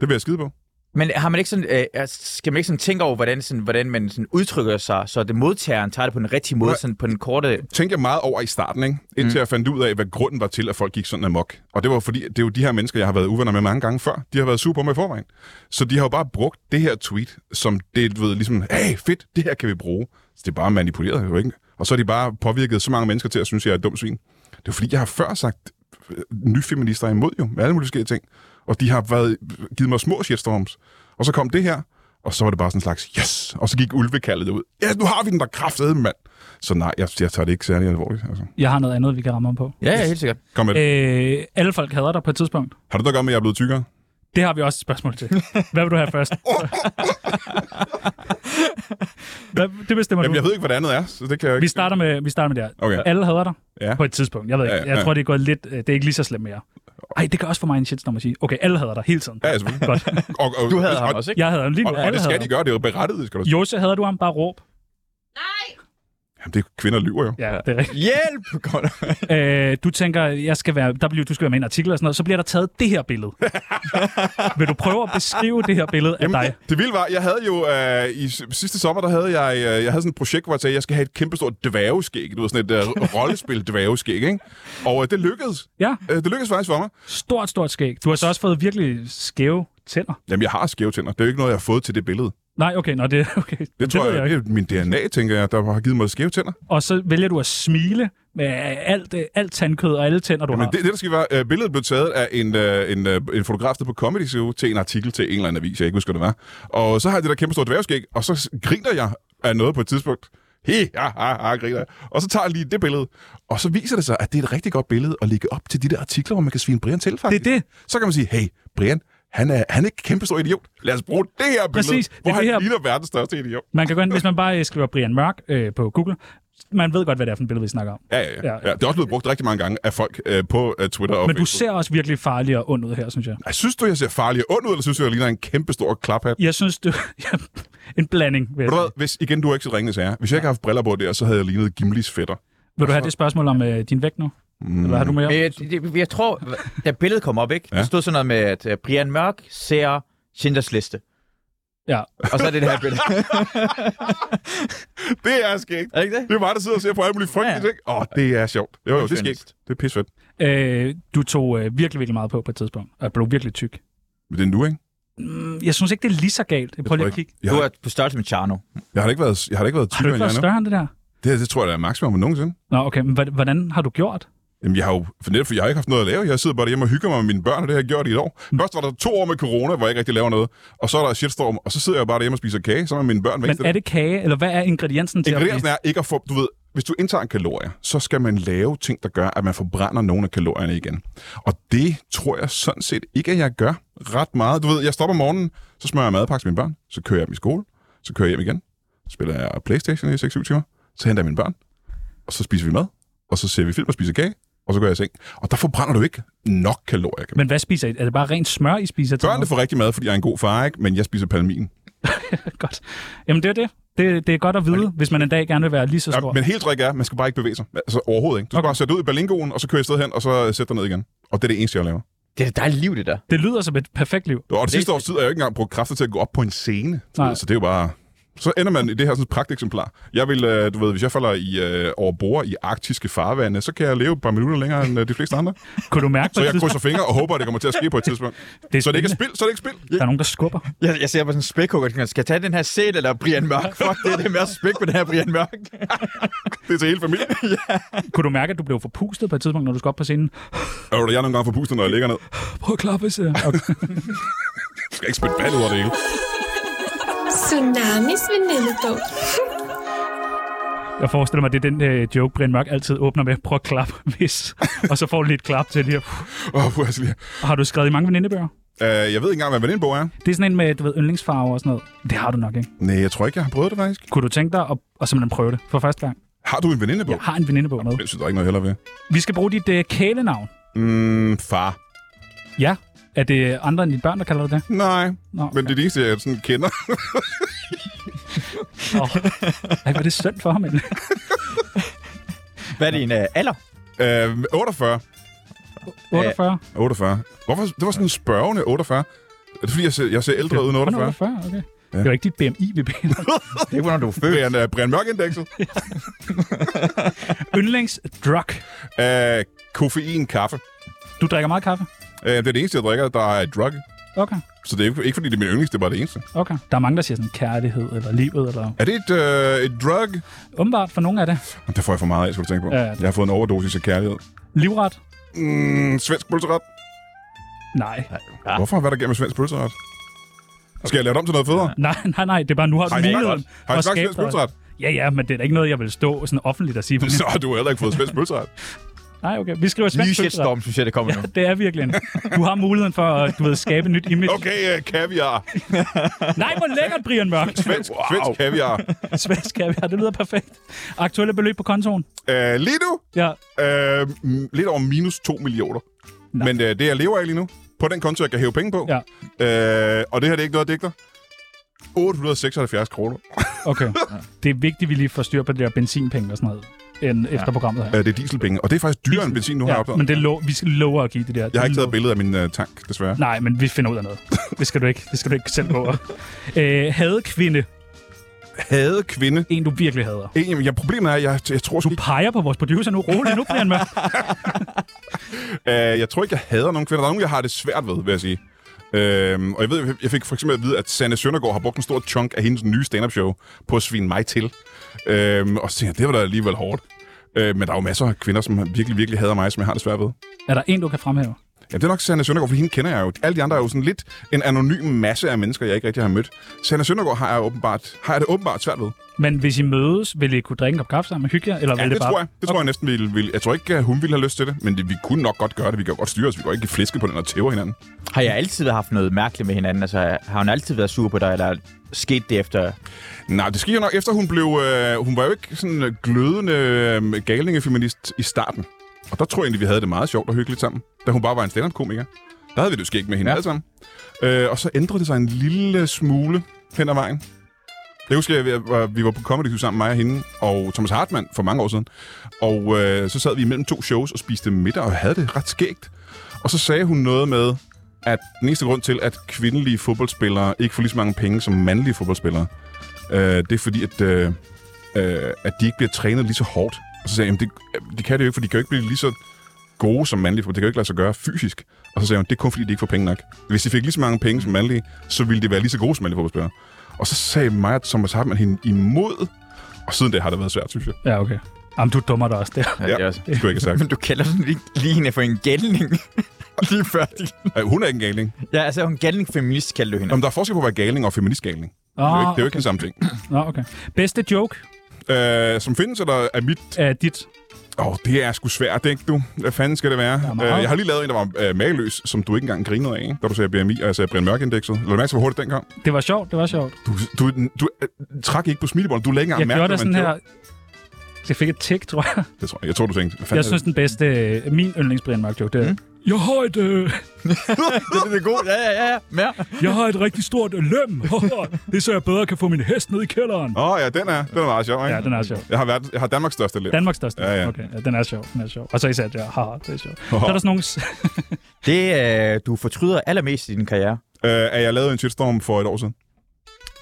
[SPEAKER 3] Det vil jeg skide på.
[SPEAKER 4] Men har man ikke sådan, øh, altså, skal man ikke sådan tænke over, hvordan, sådan, hvordan man sådan udtrykker sig, så det modtageren tager det på den rigtige måde,
[SPEAKER 3] Nej.
[SPEAKER 4] sådan på den korte...
[SPEAKER 3] tænkte jeg meget over i starten, ikke? indtil mm. jeg fandt ud af, hvad grunden var til, at folk gik sådan amok. Og det var fordi, det er jo de her mennesker, jeg har været uvenner med mange gange før. De har været sure på mig i forvejen. Så de har jo bare brugt det her tweet, som det, du ved, ligesom, hey, fedt, det her kan vi bruge. Så det er bare manipuleret, jo ikke? Og så er de bare påvirket så mange mennesker til at synes, jeg er et dumt svin. Det er jo fordi, jeg har før sagt øh, nyfeminister er imod jo, med alle mulige forskellige ting. Og de har været, givet mig små shitstorms. Og så kom det her, og så var det bare sådan en slags, yes! Og så gik ulvekaldet ud. Ja, yes, nu har vi den der kraftede mand. Så nej, jeg, jeg tager det ikke særlig alvorligt. Altså.
[SPEAKER 1] Jeg har noget andet, vi kan ramme om på.
[SPEAKER 4] Ja, ja, helt sikkert.
[SPEAKER 3] Kom med. Øh.
[SPEAKER 1] Øh, alle folk hader dig på et tidspunkt.
[SPEAKER 3] Har du noget at gøre med, at jeg er blevet tykkere?
[SPEAKER 1] Det har vi også et spørgsmål til. Hvad vil du have
[SPEAKER 3] (laughs)
[SPEAKER 1] først? Hvad, det bestemmer
[SPEAKER 3] Jamen,
[SPEAKER 1] du.
[SPEAKER 3] jeg ved ikke, hvad det andet er, så det kan jeg ikke.
[SPEAKER 1] Vi starter med, vi starter med det her.
[SPEAKER 3] Okay.
[SPEAKER 1] Alle hader dig
[SPEAKER 3] Ja.
[SPEAKER 1] på et tidspunkt. Jeg ved ikke.
[SPEAKER 3] Ja,
[SPEAKER 1] Jeg
[SPEAKER 3] ja.
[SPEAKER 1] tror, det er gået lidt... øh, Det er ikke lige så slemt mere. Ej, det gør også for mig en shitstorm at sige. Okay, alle hader dig hele tiden.
[SPEAKER 3] Ja, ja, selvfølgelig.
[SPEAKER 1] Godt.
[SPEAKER 3] Og, og,
[SPEAKER 4] Du havde
[SPEAKER 3] og,
[SPEAKER 4] ham også, ikke?
[SPEAKER 1] Jeg hader ham lige
[SPEAKER 3] (laughs) Og,
[SPEAKER 1] nu.
[SPEAKER 3] og, og,
[SPEAKER 1] Alle
[SPEAKER 3] det
[SPEAKER 1] hader
[SPEAKER 3] skal de
[SPEAKER 1] dig.
[SPEAKER 3] gøre, det er jo berettiget, skal du sige.
[SPEAKER 1] Jose, hader du ham? Bare råb.
[SPEAKER 3] Jamen, det er kvinder lyver jo.
[SPEAKER 1] Ja, det er rigtigt.
[SPEAKER 4] Hjælp! (laughs) Godt.
[SPEAKER 1] Øh, du tænker, jeg skal være, der bliver, du skal være med i en artikel og sådan noget, så bliver der taget det her
[SPEAKER 3] (laughs)
[SPEAKER 1] billede. Vil du prøve at beskrive det her billede af dig?
[SPEAKER 3] det vilde var, jeg havde jo øh, i s- sidste sommer, der havde jeg, øh, jeg havde sådan et projekt, hvor jeg sagde, jeg skal have et kæmpestort dværgeskæg. Du ved, sådan et
[SPEAKER 1] (laughs)
[SPEAKER 3] øh, rollespil dværgeskæg, ikke? Og øh, det lykkedes.
[SPEAKER 1] Ja,
[SPEAKER 3] Øh, det lykkedes faktisk for mig.
[SPEAKER 1] stort, stort skæg. Du har så også fået virkelig skæve tænder.
[SPEAKER 3] Jamen, jeg har skæve tænder. Det er jo ikke noget, jeg har fået til det billede.
[SPEAKER 1] Nej, okay, nå, det, okay. Det,
[SPEAKER 3] Det, tror
[SPEAKER 1] ved
[SPEAKER 3] jeg,
[SPEAKER 1] ikke. Ah.
[SPEAKER 3] det er min DNA, tænker jeg, der har givet mig skæve tænder.
[SPEAKER 1] Og så vælger du at smile med alt, øh, alt tandkød og alle tænder, du
[SPEAKER 3] Men
[SPEAKER 1] har.
[SPEAKER 3] det, det, der skal være, øh, billedet blev taget af en, øh, en, øh, en fotograf, der på Comedy Zoo, til en artikel til en eller anden avis, jeg ikke husker, hvad det var. Og så har jeg det der kæmpe store dværgskæg, og så s- griner jeg af noget på et tidspunkt. He, ha, ha, ha, griner jeg. Og så tager jeg lige det billede, og så viser det sig, at det er et rigtig godt billede at lægge op til de der artikler, hvor man kan svine Brian til, faktisk.
[SPEAKER 1] Det er det.
[SPEAKER 3] Så kan man sige, hey, Brian, han er, han er en kæmpe stor idiot. Lad os bruge det her billede,
[SPEAKER 1] Præcis, det er
[SPEAKER 3] hvor
[SPEAKER 1] det
[SPEAKER 3] han
[SPEAKER 1] her-
[SPEAKER 3] ligner verdens største idiot.
[SPEAKER 1] Man kan gå ind, hvis man bare øh, skriver Brian Mørk øh, på Google. Man ved godt, hvad det er for en billede, vi snakker om.
[SPEAKER 3] Ja, ja, ja.
[SPEAKER 1] Ja.
[SPEAKER 3] ja. ja det er også blevet brugt rigtig mange gange af folk øh, på øh, Twitter og
[SPEAKER 1] Men du
[SPEAKER 3] Facebook.
[SPEAKER 1] ser også virkelig farlig og ond ud her, synes jeg.
[SPEAKER 3] Ej, Synes du, jeg ser farlig og ond ud, eller synes du, jeg ligner en kæmpe stor klaphat?
[SPEAKER 1] Jeg synes, du... (laughs) en blanding, vil jeg
[SPEAKER 3] Ved du
[SPEAKER 1] sige.
[SPEAKER 3] hvad, hvis, igen, du har ikke set Ringenes Herre. Hvis jeg ikke havde haft briller på der, så havde jeg lignet Gimlis fætter.
[SPEAKER 1] Vil du have det spørgsmål om øh, din vægt nu? Mm. Eller har du mere?
[SPEAKER 4] Men jeg, det- jeg tror, da billedet kom op, ikke? Ja.
[SPEAKER 3] Ja.
[SPEAKER 4] Der stod sådan noget med, at øh, Brian Mørk ser Schindlers liste.
[SPEAKER 1] Ja.
[SPEAKER 4] Og så er det det her (laughs) billede.
[SPEAKER 3] (laughs) Det er skægt.
[SPEAKER 4] er det ikke det?
[SPEAKER 3] Det er mig, der sidder og ser på alle mulige frygtelige
[SPEAKER 4] Ja.
[SPEAKER 3] ting. Åh, det er sjovt. Jo, jo, det er skægt. Det er pisfedt.
[SPEAKER 1] Øh, du tog øh, virkelig, virkelig meget på på et tidspunkt, og blev virkelig tyk.
[SPEAKER 3] Men det er nu, ikke?
[SPEAKER 1] Mm, Jeg synes ikke, det er lige så galt. Prøv
[SPEAKER 3] tror
[SPEAKER 1] lige at
[SPEAKER 3] ikke-
[SPEAKER 1] kigge.
[SPEAKER 3] Jeg
[SPEAKER 4] Du
[SPEAKER 3] har,
[SPEAKER 4] er på størrelse med Charno.
[SPEAKER 3] jeg har da ikke været, jeg har da ikke været
[SPEAKER 1] Har du
[SPEAKER 3] tykkere,
[SPEAKER 1] ikke
[SPEAKER 3] end jeg
[SPEAKER 1] været
[SPEAKER 3] er nu.
[SPEAKER 1] større end det der?
[SPEAKER 3] Det, det tror jeg, der er maksimum nogensinde.
[SPEAKER 1] Nå, okay, men hva- hvordan har du gjort?
[SPEAKER 3] Jamen, jeg har jo for netop, for jeg har ikke haft noget at lave. Jeg sidder bare derhjemme og hygger mig med mine børn, og det har jeg gjort i et år.
[SPEAKER 1] Mm.
[SPEAKER 3] Først var der to år med corona, hvor jeg ikke rigtig laver noget. Og så er der shitstorm, og så sidder jeg bare derhjemme og spiser kage, sammen med mine børn. hver
[SPEAKER 1] Men
[SPEAKER 3] eneste
[SPEAKER 1] er det kage, eller hvad er ingrediensen til
[SPEAKER 3] Ingrediensen
[SPEAKER 1] at
[SPEAKER 3] er ikke at få... Du ved, hvis du indtager en kalorie, så skal man lave ting, der gør, at man forbrænder nogle af kalorierne igen. Og det tror jeg sådan set ikke, at jeg gør ret meget. Du ved, jeg stopper om morgenen, så smører jeg madpakke til mine børn, så kører jeg dem i skole, så kører jeg hjem igen, så spiller jeg Playstation i 6-7 timer, så henter jeg mine børn, og så spiser vi mad, og så ser vi film og spiser kage, og så går jeg i seng. Og der forbrænder du ikke nok kalorier. Kan man.
[SPEAKER 1] Men hvad spiser I? Er det bare rent smør, I spiser? til
[SPEAKER 3] Børnene
[SPEAKER 1] noget?
[SPEAKER 3] får rigtig mad, fordi jeg er en god far, ikke? men jeg spiser palmin.
[SPEAKER 1] Godt. Jamen, det er det. Det, det er godt at vide, hvis man en dag gerne vil være lige så
[SPEAKER 3] Ja,
[SPEAKER 1] stor.
[SPEAKER 3] men helt trick er, man skal bare ikke bevæge sig. Altså overhovedet ikke. Du skal okay. bare sætte ud i balingoen, og så køre i stedet hen, og så øh, sætte dig ned igen. Og det er det eneste, jeg laver.
[SPEAKER 4] Det er et dejligt liv, det der.
[SPEAKER 1] Det lyder som et perfekt liv.
[SPEAKER 3] Og det, sidste års tid har jeg jo ikke engang brugt kræfter til at gå op på en scene. Du
[SPEAKER 1] Nej.
[SPEAKER 3] ved, Så det er jo bare... Så ender man i det her sådan, pragteksemplar. Jeg vil, øh, du ved, hvis jeg falder i, øh, over bord i arktiske farvande, så kan jeg leve et par minutter længere end øh, de fleste andre.
[SPEAKER 1] Kunne du mærke på
[SPEAKER 3] (laughs) Så
[SPEAKER 1] et
[SPEAKER 3] jeg
[SPEAKER 1] tidspunkt,
[SPEAKER 3] krydser fingre og håber, at det kommer til at ske på et tidspunkt.
[SPEAKER 1] (laughs) Det er
[SPEAKER 3] så det ikke er
[SPEAKER 1] spændende.
[SPEAKER 3] spild, så er det ikke spild.
[SPEAKER 1] der er nogen, der skubber?
[SPEAKER 4] Jeg, jeg ser på sådan en spækhugger, og tænker, skal jeg tage den her sæl eller Brian Mørk? Fuck, det er det med at spæk med den her Brian Mørk.
[SPEAKER 3] Det er til hele familien.
[SPEAKER 1] Kunne du mærke, at du blev forpustet på et tidspunkt, når du skulle op på scenen?
[SPEAKER 3] Og jeg er nogle gange forpustet, når jeg ligger ned.
[SPEAKER 1] Prøv at klappe, siger jeg. okay.
[SPEAKER 3] Jeg skal ikke spille vand ud over det hele.
[SPEAKER 6] Tsunamis venindebog.
[SPEAKER 1] Jeg forestiller mig, det er den øh, joke, Brian Mørk altid åbner med. Prøv at klappe, (laughs) hvis. Og så får du lidt klap til lige. at-
[SPEAKER 3] Åh, puh, altså, lige.
[SPEAKER 1] Og Har du skrevet i mange venindebøger?
[SPEAKER 3] Øh, jeg ved ikke engang, hvad venindebog er.
[SPEAKER 1] Det er sådan en med, du ved, yndlingsfarver og sådan noget. Det har du nok, ikke?
[SPEAKER 3] Nej, jeg tror ikke, jeg har prøvet det faktisk.
[SPEAKER 1] Kunne du tænke dig at, at simpelthen prøve det for første gang?
[SPEAKER 3] Har du en venindebog?
[SPEAKER 1] Jeg har en venindebog med.
[SPEAKER 3] Det synes jeg ikke noget heller ved.
[SPEAKER 1] Vi skal bruge dit øh, kælenavn.
[SPEAKER 3] Mm, far.
[SPEAKER 1] Ja. Er det andre end dine børn, der kalder dig det?
[SPEAKER 3] Nej,
[SPEAKER 1] Nå, okay.
[SPEAKER 3] men det er det eneste, jeg sådan kender. (laughs)
[SPEAKER 1] Åh. Ej, hvor er det synd for ham egentlig.
[SPEAKER 4] Hvad er din uh, alder?
[SPEAKER 3] Øh, 48.
[SPEAKER 1] 48?
[SPEAKER 3] 48. Hvorfor? Det var sådan en spørgende 48. Er det fordi, jeg ser, jeg ser ældre ud end
[SPEAKER 1] Hvornår
[SPEAKER 3] 48?
[SPEAKER 1] 48? Okay. Det var ikke dit BMI, vi beder.
[SPEAKER 3] (laughs)
[SPEAKER 1] om.
[SPEAKER 4] Det er, hvornår du er født.
[SPEAKER 3] Brian, uh, Brian Mørk-indekset.
[SPEAKER 4] (laughs)
[SPEAKER 1] Yndlingsdrug.
[SPEAKER 3] Uh, koffein, kaffe.
[SPEAKER 1] Du drikker meget kaffe?
[SPEAKER 3] Uh, det er det eneste, jeg drikker, der er drug.
[SPEAKER 1] Okay,
[SPEAKER 3] Så det er ikke, ikke fordi, det er min yndlings, det er bare det eneste.
[SPEAKER 1] okay. Der er mange, der siger sådan kærlighed eller livet eller...
[SPEAKER 3] Er det et, uh, et drug?
[SPEAKER 1] Umiddelbart for nogle af det.
[SPEAKER 3] Det får jeg for meget af, skal du tænke på.
[SPEAKER 1] Ja, ja.
[SPEAKER 3] Jeg har fået en overdosis af kærlighed.
[SPEAKER 1] Livret?
[SPEAKER 3] Mm, svensk pølseret.
[SPEAKER 1] Nej.
[SPEAKER 4] Ah.
[SPEAKER 3] Hvorfor? Hvad er der gennem svensk pølseret? Skal jeg lave det om til noget federe?
[SPEAKER 1] Nej, nej, nej. Det er bare, nu har du
[SPEAKER 3] Har I smagt-
[SPEAKER 1] muligheden for
[SPEAKER 3] har I
[SPEAKER 1] at
[SPEAKER 3] smagt
[SPEAKER 1] skabe
[SPEAKER 3] svensk pølseret?
[SPEAKER 1] dig. Ja, ja, men det er da ikke noget, jeg vil stå sådan offentligt og sige.
[SPEAKER 3] (laughs) Så har du heller ikke fået svensk pølseret.
[SPEAKER 1] Nej, okay. Vi skriver
[SPEAKER 4] Nye
[SPEAKER 1] svensk pølser.
[SPEAKER 4] shitstorm, synes jeg, det kommer nu.
[SPEAKER 1] Det er virkelig en. Du har muligheden for at du ved, skabe et nyt image.
[SPEAKER 3] Okay, uh, kaviar.
[SPEAKER 1] Nej, hvor lækkert, Brian
[SPEAKER 3] (laughs)
[SPEAKER 1] Mørk.
[SPEAKER 3] Svensk, wow. svensk kaviar.
[SPEAKER 1] Svensk kaviar, det lyder perfekt. Aktuelle beløb på kontoen?
[SPEAKER 3] Uh, lige nu,
[SPEAKER 1] Ja.
[SPEAKER 3] uh, lidt over minus 2 millioner. Men uh, det, jeg lever af lige nu, på den konto, jeg kan hæve penge på,
[SPEAKER 1] Ja.
[SPEAKER 3] uh, og det her det er ikke noget, jeg digter, 876 kroner.
[SPEAKER 1] Okay. Det er vigtigt, at vi lige får styr på det der benzinpenge og sådan noget end efter programmet her.
[SPEAKER 3] Uh, det er dieselpenge, og det er faktisk dyrere end benzin, nu har jeg
[SPEAKER 1] Ja,
[SPEAKER 3] opdaget.
[SPEAKER 1] men det lo- vi skal love at give det der.
[SPEAKER 3] Jeg har ikke taget billede af min uh, tank, desværre.
[SPEAKER 1] Nej, men vi finder ud af
[SPEAKER 3] (laughs)
[SPEAKER 1] noget. Det skal du ikke, det skal du ikke selv gå over. Øh, hade kvinde.
[SPEAKER 3] Hade kvinde.
[SPEAKER 1] En, du virkelig hader.
[SPEAKER 3] En, jamen, ja, problemet er, jeg, jeg, tror sgu
[SPEAKER 1] Du
[SPEAKER 3] ikke,
[SPEAKER 1] peger på vores producer nu. Rolig nu, Brian Mørk.
[SPEAKER 3] uh, jeg tror ikke, jeg hader nogen kvinder. Der er nogen, jeg har det svært ved, vil jeg sige. Øhm, og jeg ved, jeg fik for eksempel at vide, at Sanne Søndergaard har brugt en stor chunk af hendes nye stand-up show på at svine mig til. Øhm, og så tænkte jeg, det var da alligevel hårdt. Øh, men der er jo masser af kvinder, som virkelig, virkelig hader mig, som jeg har det svært ved.
[SPEAKER 1] Er der en, du kan fremhæve?
[SPEAKER 3] Ja, det er nok Sanne Søndergaard, for hende kender jeg jo. Alle de andre er jo sådan lidt en anonym masse af mennesker, jeg ikke rigtig har mødt. Sanne Søndergaard har jeg, åbenbart, har jeg det åbenbart svært ved.
[SPEAKER 1] Men hvis I mødes, vil I kunne drikke en kop kaffe sammen og hygge jer? Eller
[SPEAKER 3] Ja,
[SPEAKER 1] vil
[SPEAKER 3] det,
[SPEAKER 1] det,
[SPEAKER 3] det
[SPEAKER 1] bare...
[SPEAKER 3] tror jeg. Det tror jeg næsten, vi vil. Jeg tror ikke, at hun ville have lyst til det, men det, vi kunne nok godt gøre det. Vi kan jo godt styre os. Vi går ikke flæske på den og tæver hinanden.
[SPEAKER 4] Har jeg altid haft noget mærkeligt med hinanden? Altså, har hun altid været sur på dig, eller skete det efter...
[SPEAKER 3] Nej, det sker jo nok efter, hun blev... Øh, hun var jo ikke sådan øh, glødende øh, galningefeminist i starten. Og der tror jeg egentlig, vi havde det meget sjovt og hyggeligt sammen. Da hun bare var en stand-up-komiker. Der havde vi det jo skægt med hende ja.
[SPEAKER 4] Ja.
[SPEAKER 3] alle sammen. Øh, og så ændrede det sig en lille smule hen ad vejen. Jeg husker, at vi var- vi var på Comedy Zoo sammen, mig og hende, og Thomas Hartmann for mange år siden. Og øh, så sad vi imellem to shows og spiste middag, og havde det ret skægt. Og så sagde hun noget med, at den eneste grund til, at kvindelige fodboldspillere ikke får lige så mange penge som mandlige fodboldspillere, øh, det er fordi, at, øh, øh, at de ikke bliver trænet lige så hårdt. Og så sagde jeg, at det, det kan det jo ikke, for de kan jo ikke blive lige så gode som mandlige, for det kan jo ikke lade sig gøre fysisk. Og så sagde hun, det er kun fordi, de ikke får penge nok. Hvis de fik lige så mange penge som mandlige, så ville de være lige så gode som mandlige fodboldspillere. Og så sagde mig og Thomas Hartmann hende imod, og siden det har det været svært, synes jeg.
[SPEAKER 1] Ja, okay. Jamen, du dummer dig også der.
[SPEAKER 4] Ja,
[SPEAKER 3] Ja,
[SPEAKER 4] det er også.
[SPEAKER 3] det skulle jeg ikke have
[SPEAKER 4] Men du kalder sådan lige, lige hende for en galning. (laughs) lige før. de-
[SPEAKER 3] sagt. Ej, hun er ikke en galning.
[SPEAKER 4] Ja, altså hun galning feminist kalder du hende.
[SPEAKER 3] Om der er forskel på at være galning og feminist galning. Det er jo ikke, det er jo ikke den samme ting.
[SPEAKER 1] Nå, okay. Bedste joke
[SPEAKER 3] Øh, som findes, eller er mit...
[SPEAKER 1] af dit...
[SPEAKER 3] Åh, oh, det er sgu svært, ikke du? Hvad fanden skal det være?
[SPEAKER 1] er meget.
[SPEAKER 3] Øh, jeg har lige lavet en, der var øh, mageløs, som du ikke engang grinede af, ikke? da du sagde BMI, og jeg øh, sagde Brian Mørk-indekset. Lad mærke til, hvor hurtigt den kom.
[SPEAKER 1] Det var sjovt, det var sjovt.
[SPEAKER 3] Du, du, du øh, trak ikke på smilebåndet. Du lagde ikke
[SPEAKER 1] Jeg
[SPEAKER 3] engang
[SPEAKER 1] gjorde
[SPEAKER 3] mærke
[SPEAKER 1] det
[SPEAKER 3] til,
[SPEAKER 1] sådan
[SPEAKER 3] hvad man
[SPEAKER 1] her... Så jeg fik et tik, tror jeg.
[SPEAKER 3] gjorde. Det tror jeg. Jeg tror, du tænkte, hvad fanden
[SPEAKER 1] Jeg
[SPEAKER 3] er
[SPEAKER 1] synes, den bedste... øh, Min yndlings Brian Mørk joke, det er... Jeg har et, øh,
[SPEAKER 4] Det, det er godt. Ja, ja, ja, ja. Mere.
[SPEAKER 1] jeg har et rigtig stort lem. (laughs) det er så jeg bedre kan få min hest ned i kælderen.
[SPEAKER 3] det? Åh, oh, ja, den er, den er meget sjov, ikke?
[SPEAKER 1] Ja, den er sjov.
[SPEAKER 3] Jeg har, været, jeg har Danmarks største elev.
[SPEAKER 1] Danmarks største.
[SPEAKER 3] Ja, ja.
[SPEAKER 1] Okay, ja, den er sjov, den er sjov. Og så især, ja, haha, det er sjovt. Så er der sådan nogle... s- (laughs)
[SPEAKER 4] Det, øh, du fortryder allermest i din karriere.
[SPEAKER 3] Øh, at jeg lavede en shitstorm for et år siden.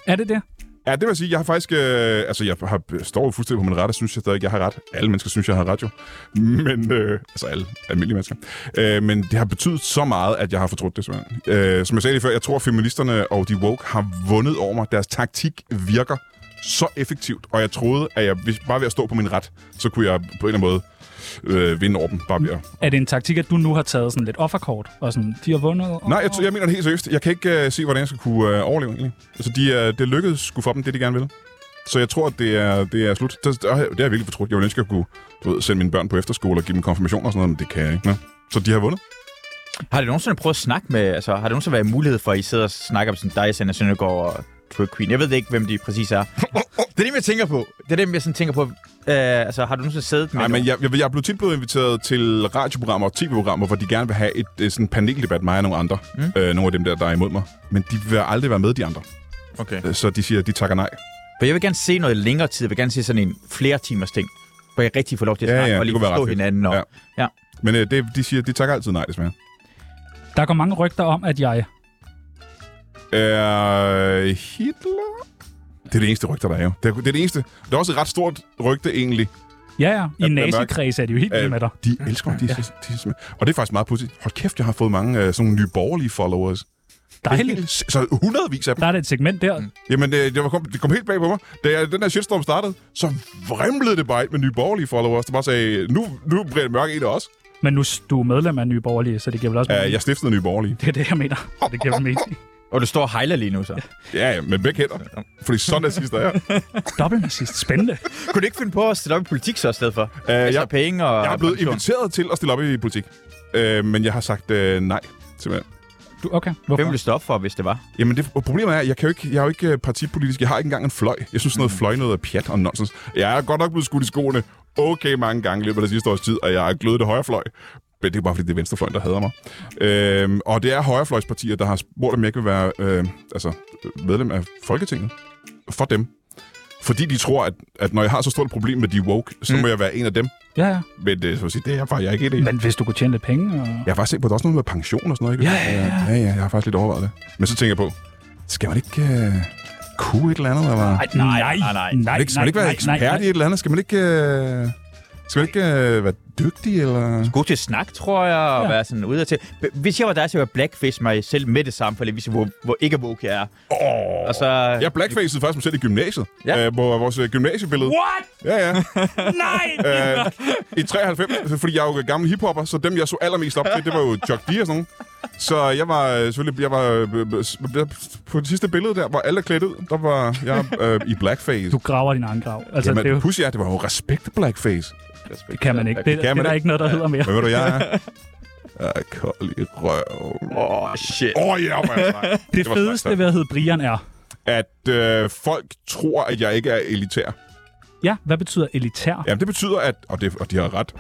[SPEAKER 1] er det det?
[SPEAKER 3] Ja, det vil jeg sige, jeg har faktisk... Øh, altså, jeg har, står jo fuldstændig på min ret, og synes jeg stadig, jeg har ret. Alle mennesker synes, jeg har ret jo. (laughs) Men, øh, altså alle almindelige mennesker. Øh, men det har betydet så meget, at jeg har fortrudt det, simpelthen. Øh, som jeg sagde lige før, jeg tror, at feministerne og de woke har vundet over mig. Deres taktik virker så effektivt, og jeg troede, at jeg hvis- bare ved at stå på min ret, så kunne jeg på en eller anden måde øh, vinde over dem. Bare ved at
[SPEAKER 1] Er det en taktik, at du nu har taget sådan lidt offerkort, og sådan, de har vundet? og-
[SPEAKER 3] Nej, jeg, t- jeg mener det helt seriøst. Jeg kan ikke uh, se, hvordan jeg skal kunne uh, overleve egentlig. Altså, de, uh, det lykkedes sgu for dem, det de gerne ville. Så jeg tror, at det er, det er slut. Det, det har jeg det har jeg virkelig fortrudt. Jeg ville ønske, at jeg kunne du ved, sende mine børn på efterskole og give dem konfirmation og sådan noget, men det kan jeg ikke. Nå. Så de har vundet.
[SPEAKER 4] Har det nogensinde prøvet at snakke med, altså har det nogensinde været mulighed for, at I sidder og snakker om sådan dig, Sander Søndergaard og Drag Queen? Jeg ved ikke, hvem de præcis (laughs) er. Det er dem, jeg tænker på. Det er dem, jeg sådan tænker på. Øh, altså, har du nogensinde siddet med
[SPEAKER 3] Nej, men
[SPEAKER 4] nogen?
[SPEAKER 3] jeg, jeg, jeg er blevet tit blevet inviteret til radioprogrammer og tv-programmer, hvor de gerne vil have et, øh, sådan paneldebat, mig og nogle andre. Mm. Øh, nogle af dem der, der er imod mig. Men de vil aldrig være med, de andre.
[SPEAKER 4] Okay.
[SPEAKER 3] Øh, Så de siger, at de takker nej.
[SPEAKER 4] For jeg vil gerne se noget længere tid. Jeg vil gerne se sådan en flere timers ting, hvor jeg rigtig får lov til at
[SPEAKER 3] Ja,
[SPEAKER 4] snakke
[SPEAKER 3] ja,
[SPEAKER 4] og
[SPEAKER 3] det
[SPEAKER 4] lige
[SPEAKER 3] kunne være
[SPEAKER 4] forstå
[SPEAKER 3] ret fedt.
[SPEAKER 4] hinanden. Og,
[SPEAKER 3] Ja.
[SPEAKER 4] ja. ja.
[SPEAKER 3] Men øh, det, de siger, at de takker altid nej, desværre.
[SPEAKER 1] Der går mange rygter om, at jeg...
[SPEAKER 3] Øh, Hitler? Det er det eneste rygter, der er jo. Det er det, er det eneste. Det er også et ret stort rygte, egentlig.
[SPEAKER 1] Ja, ja. I
[SPEAKER 3] At Brian Mørk-
[SPEAKER 1] nazikreds er de jo helt vilde med dig.
[SPEAKER 3] de elsker mig. De, de, de, og det er faktisk meget pudsigt. Hold kæft, jeg har fået mange øh, sådan nogle nye borgerlige followers. Det er
[SPEAKER 1] Dejligt. (laughs)
[SPEAKER 3] helt- Så hundredvis af dem.
[SPEAKER 1] Der er det et segment der.
[SPEAKER 3] Jamen, det, det, var, kom, det kom helt bag på mig. Da jeg, den der shitstorm startede, så vrimlede det bare ind med nye borgerlige followers, der bare sagde, nu, nu bliver det mørke en af os.
[SPEAKER 1] Men nu s- du er medlem af Nye Borgerlige, så det giver vel også... mening.
[SPEAKER 3] Uh, jeg stiftede nye borgerlige.
[SPEAKER 1] Det er det, jeg mener. Det giver vel (laughs) mening.
[SPEAKER 4] og du står og hejler lige
[SPEAKER 3] (laughs)
[SPEAKER 4] nu, så.
[SPEAKER 3] Ja, ja, med begge hænder. Fordi sådan nazister er sidst, der
[SPEAKER 1] Dobbelt nazist. Spændende.
[SPEAKER 4] Kunne du ikke finde på at stille op i politik så i stedet for? Uh, altså
[SPEAKER 3] Øh, jeg-
[SPEAKER 4] penge og...
[SPEAKER 3] Jeg er blevet
[SPEAKER 4] pension.
[SPEAKER 3] inviteret til at stille op i politik. Uh, men jeg har sagt uh, nej, simpelthen.
[SPEAKER 1] Du, okay. Hvorfor?
[SPEAKER 4] Hvem ville du stå op for, hvis det var?
[SPEAKER 3] Jamen, det, problemet er, at jeg, kan jo ikke, jeg er jo ikke øh, partipolitisk. Jeg har ikke engang en fløj. Jeg synes, sådan noget fløj noget er pjat og nonsens. Jeg er godt nok blevet skudt i skoene okay mange gange i løbet af det sidste års tid, og jeg er glødet det højrefløj. Men det er bare, fordi det er venstrefløjen, der hader mig. Øhm, og det er højrefløjspartier, der har spurgt, om jeg ikke vil være øh, altså, medlem af Folketinget. For dem. Fordi de tror, at, at når jeg har så stort et problem med de woke, så mm. må jeg være en af dem.
[SPEAKER 1] Ja, ja.
[SPEAKER 3] Men øh, så at sige, det er jeg faktisk jeg er ikke det.
[SPEAKER 1] Men hvis du kunne tjene lidt penge... Og...
[SPEAKER 3] Jeg har faktisk tænkt på, at der er også noget med pension og sådan noget. Ikke?
[SPEAKER 1] Ja, ja,
[SPEAKER 3] ja. ja, jeg har faktisk lidt overvejet det. Men så tænker jeg på, skal man ikke uh, kunne et eller andet? Eller? Nej,
[SPEAKER 1] Nej,
[SPEAKER 4] nej,
[SPEAKER 1] nej,
[SPEAKER 4] nej.
[SPEAKER 1] nej,
[SPEAKER 3] man ikke, skal man ikke være ekspert i et eller andet? Skal man ikke, uh, skal man ikke uh, være dygtig? Eller?
[SPEAKER 4] God til at snakke, tror jeg,
[SPEAKER 1] Ja.
[SPEAKER 4] og ja. være sådan ude til. B- Hvis jeg var dig, så ville jeg blackface mig selv med det samme, for at vise, hvor, hvor ikke woke jeg er.
[SPEAKER 3] Oh.
[SPEAKER 4] Og så...
[SPEAKER 3] Jeg blackfacede faktisk mig selv i gymnasiet.
[SPEAKER 4] Ja.
[SPEAKER 3] Ja. Uh, på vores øh, gymnasiebillede.
[SPEAKER 1] What? (laughs)
[SPEAKER 3] Ja, ja.
[SPEAKER 1] Nej!
[SPEAKER 3] (laughs) Øh, I 93, fordi jeg er jo gammel hiphopper, så dem, jeg så allermest op til, det var jo Chuck D og sådan nogle. Så jeg var øh, selvfølgelig, jeg var øh, s- s- på det sidste billede der, hvor alle er klædt ud, der var jeg øh, i blackface.
[SPEAKER 1] Du graver din egen grav. Altså,
[SPEAKER 3] Jamen,
[SPEAKER 1] det er jo,
[SPEAKER 3] pussy er, det var jo respekt blackface.
[SPEAKER 1] kan man ikke. Det, det,
[SPEAKER 3] Kan
[SPEAKER 1] er
[SPEAKER 3] man
[SPEAKER 1] der
[SPEAKER 3] ikke?
[SPEAKER 1] ikke noget, der hedder mere.
[SPEAKER 3] Men ved du, jeg er... Jeg er kold i røven. Åh,
[SPEAKER 4] Åh, oh, shit.
[SPEAKER 3] oh, ja, yeah,
[SPEAKER 1] Det fedeste ved at hedde Brian er...
[SPEAKER 3] At øh, folk tror, at jeg ikke er elitær.
[SPEAKER 1] Ja, hvad betyder elitær?
[SPEAKER 3] Jamen, det betyder, at... Og, det, og de har ret.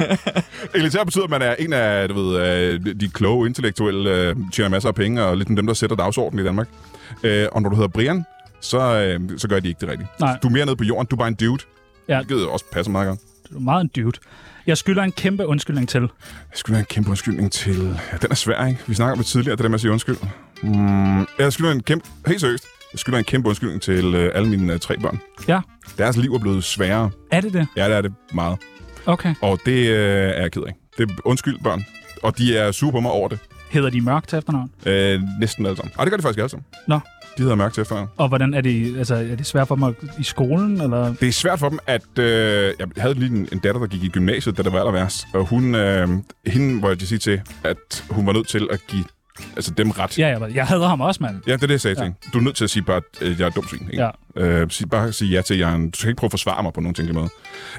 [SPEAKER 3] (laughs) elitær betyder, at man er en af du ved, øh, de kloge intellektuelle, øh, tjener masser af penge, og lidt dem, der sætter dagsordenen i Danmark. Øh, og når du hedder Brian, så, øh, så gør de ikke det rigtigt.
[SPEAKER 1] Nej.
[SPEAKER 3] Du er mere nede på jorden, du er bare en dude.
[SPEAKER 1] Ja.
[SPEAKER 3] Ja. Hvilket også passer meget godt.
[SPEAKER 1] Du er meget en dude. Jeg skylder en kæmpe undskyldning til.
[SPEAKER 3] Jeg skulle have en kæmpe undskyldning til... Ja, den er svær, ikke? Vi snakker om det tidligere, det der med at sige undskyld. Mm, jeg skylder en kæmpe... Helt seriøst. Jeg skylder en kæmpe undskyldning til øh, alle mine øh, tre børn.
[SPEAKER 1] Ja,
[SPEAKER 3] Deres liv er blevet sværere.
[SPEAKER 1] er det det?
[SPEAKER 3] Ja, det er det meget.
[SPEAKER 1] Okay.
[SPEAKER 3] Og det øh, er jeg ked af. Det er undskyld, børn. Og de er sure på mig over det.
[SPEAKER 1] Hedder de mørk til efternavn?
[SPEAKER 3] Øh, næsten alle sammen. Ej, det gør de faktisk alle sammen.
[SPEAKER 1] Nå.
[SPEAKER 3] De hedder mørk til efternavn.
[SPEAKER 1] Og hvordan er det, altså, er det svært for dem at, i skolen? Eller?
[SPEAKER 3] Det er svært for dem, at... Øh, jeg havde lige en, en datter, der gik i gymnasiet, da det var aller værst. Og hun, øh, hende var jeg til at sige til, at hun var nødt til at give altså dem ret.
[SPEAKER 1] Ja, jeg, jeg hader ham også, mand.
[SPEAKER 3] Ja, det er det, jeg sagde
[SPEAKER 1] Ja.
[SPEAKER 3] ja. til hende. Du er nødt til at sige bare, at øh, jeg er et dumt svin. Ikke?
[SPEAKER 1] Ja.
[SPEAKER 3] Øh, sig, bare sige ja til, at jeg er en... Du skal ikke prøve at forsvare mig på nogen tænkelig måde.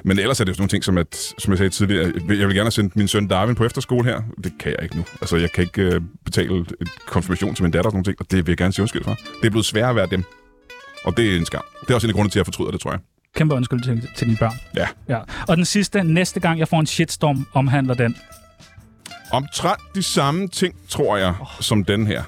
[SPEAKER 3] Men ellers er det jo sådan nogle ting, som, at, som jeg sagde tidligere. Jeg vil jeg vil gerne sende min søn Darwin på efterskole her. Det kan jeg ikke nu. Altså, jeg kan ikke øh, betale et konfirmation til min datter og sådan nogle ting, og det vil jeg gerne sige undskyld for. Det er blevet sværere at være dem. Og det er en skam. Det er også en af grundene til, at jeg fortryder det, tror jeg.
[SPEAKER 1] Kæmpe undskyld til, til dine børn.
[SPEAKER 3] Ja.
[SPEAKER 1] ja. Og den sidste, næste gang jeg får en shitstorm, omhandler den.
[SPEAKER 3] Omtrent de samme ting, tror jeg, oh. som den her.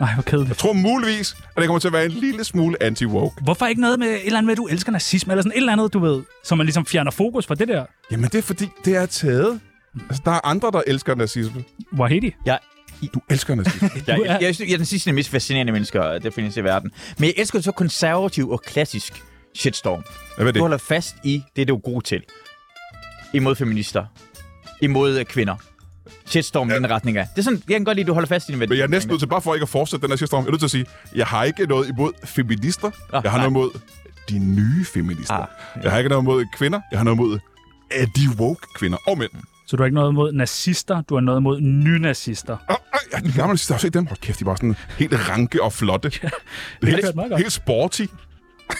[SPEAKER 1] Nej, hvor kedeligt.
[SPEAKER 3] Jeg tror muligvis, at det kommer til at være en lille smule anti-woke.
[SPEAKER 1] Hvorfor ikke noget med et eller andet med, at du elsker nazisme, eller sådan et eller andet, du ved, så man ligesom fjerner fokus fra det der?
[SPEAKER 3] Jamen, det er fordi, det er taget. Altså, der er andre, der elsker nazisme.
[SPEAKER 1] Wahidi?
[SPEAKER 4] Jeg,
[SPEAKER 3] Du elsker nazisme.
[SPEAKER 4] jeg,
[SPEAKER 1] Du er-
[SPEAKER 4] jeg, jeg, synes, jeg er den sidste mest fascinerende mennesker, øh, der findes i verden. Men jeg elsker så konservativ og klassisk shitstorm.
[SPEAKER 3] Hvad er
[SPEAKER 4] Du
[SPEAKER 3] det?
[SPEAKER 4] holder fast i det, du er god til. Imod feminister. Imod øh, kvinder. Shitstorm ja. den retning af. Det er sådan, jeg kan godt lide, at du holder fast i din værdi.
[SPEAKER 3] Men jeg er næsten nødt til, bare for ikke at fortsætte den her sidste om, jeg er nødt til at sige, jeg har ikke noget imod feminister.
[SPEAKER 4] Ah,
[SPEAKER 3] Jeg har
[SPEAKER 4] nej.
[SPEAKER 3] noget imod de nye feminister.
[SPEAKER 4] Ah,
[SPEAKER 3] Jeg har ikke noget imod kvinder. Jeg har noget imod af de woke kvinder og mænd.
[SPEAKER 1] Så du har ikke noget mod nazister, du har noget mod nynazister.
[SPEAKER 3] Åh, ej, de gamle nazister, har du set dem? Hold kæft, de var sådan helt ranke og flotte. Det er
[SPEAKER 1] det kørte meget
[SPEAKER 3] helt,
[SPEAKER 1] godt.
[SPEAKER 3] helt sporty.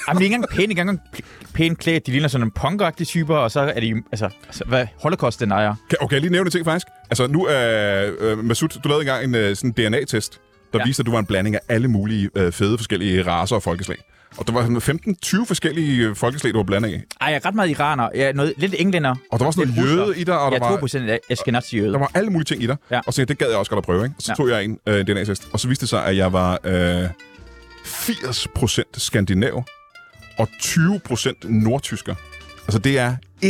[SPEAKER 4] Jamen, de "Ah, er ikke engang pæne, ikke engang pl- pænt klædt. De ligner sådan nogle punkeragtige typer, og så er de, altså, altså hvad holocaust den ejer.
[SPEAKER 3] Kan, okay, jeg lige nævne en ting faktisk. Altså nu er øh, Masud, du lavede engang en øh, sådan DNA-test, der
[SPEAKER 4] Ja.
[SPEAKER 3] ja. viste, at du var en blanding af alle mulige øh, fede forskellige raser og folkeslag. Og der var sådan 15-20 forskellige øh, folkeslag, du var blandet af.
[SPEAKER 4] Ej, jeg er ret meget iraner. Jeg er noget, lidt englænder.
[SPEAKER 3] Og der var sådan
[SPEAKER 4] Lidt
[SPEAKER 3] noget
[SPEAKER 4] russer.
[SPEAKER 3] jøde i dig, og
[SPEAKER 4] Jeg
[SPEAKER 3] der var,
[SPEAKER 4] er 2% af Eskenazi
[SPEAKER 3] der
[SPEAKER 4] jøde.
[SPEAKER 3] var alle mulige ting i dig.
[SPEAKER 4] Ja.
[SPEAKER 3] Ja. Og så tænkte jeg, det gad jeg også godt at prøve, ikke? Og så
[SPEAKER 4] Ja.
[SPEAKER 3] ja. tog jeg en øh, DNA-test, og så viste det sig, at jeg var øh, 80% skandinav og 20% nordtysker. Altså det er 100%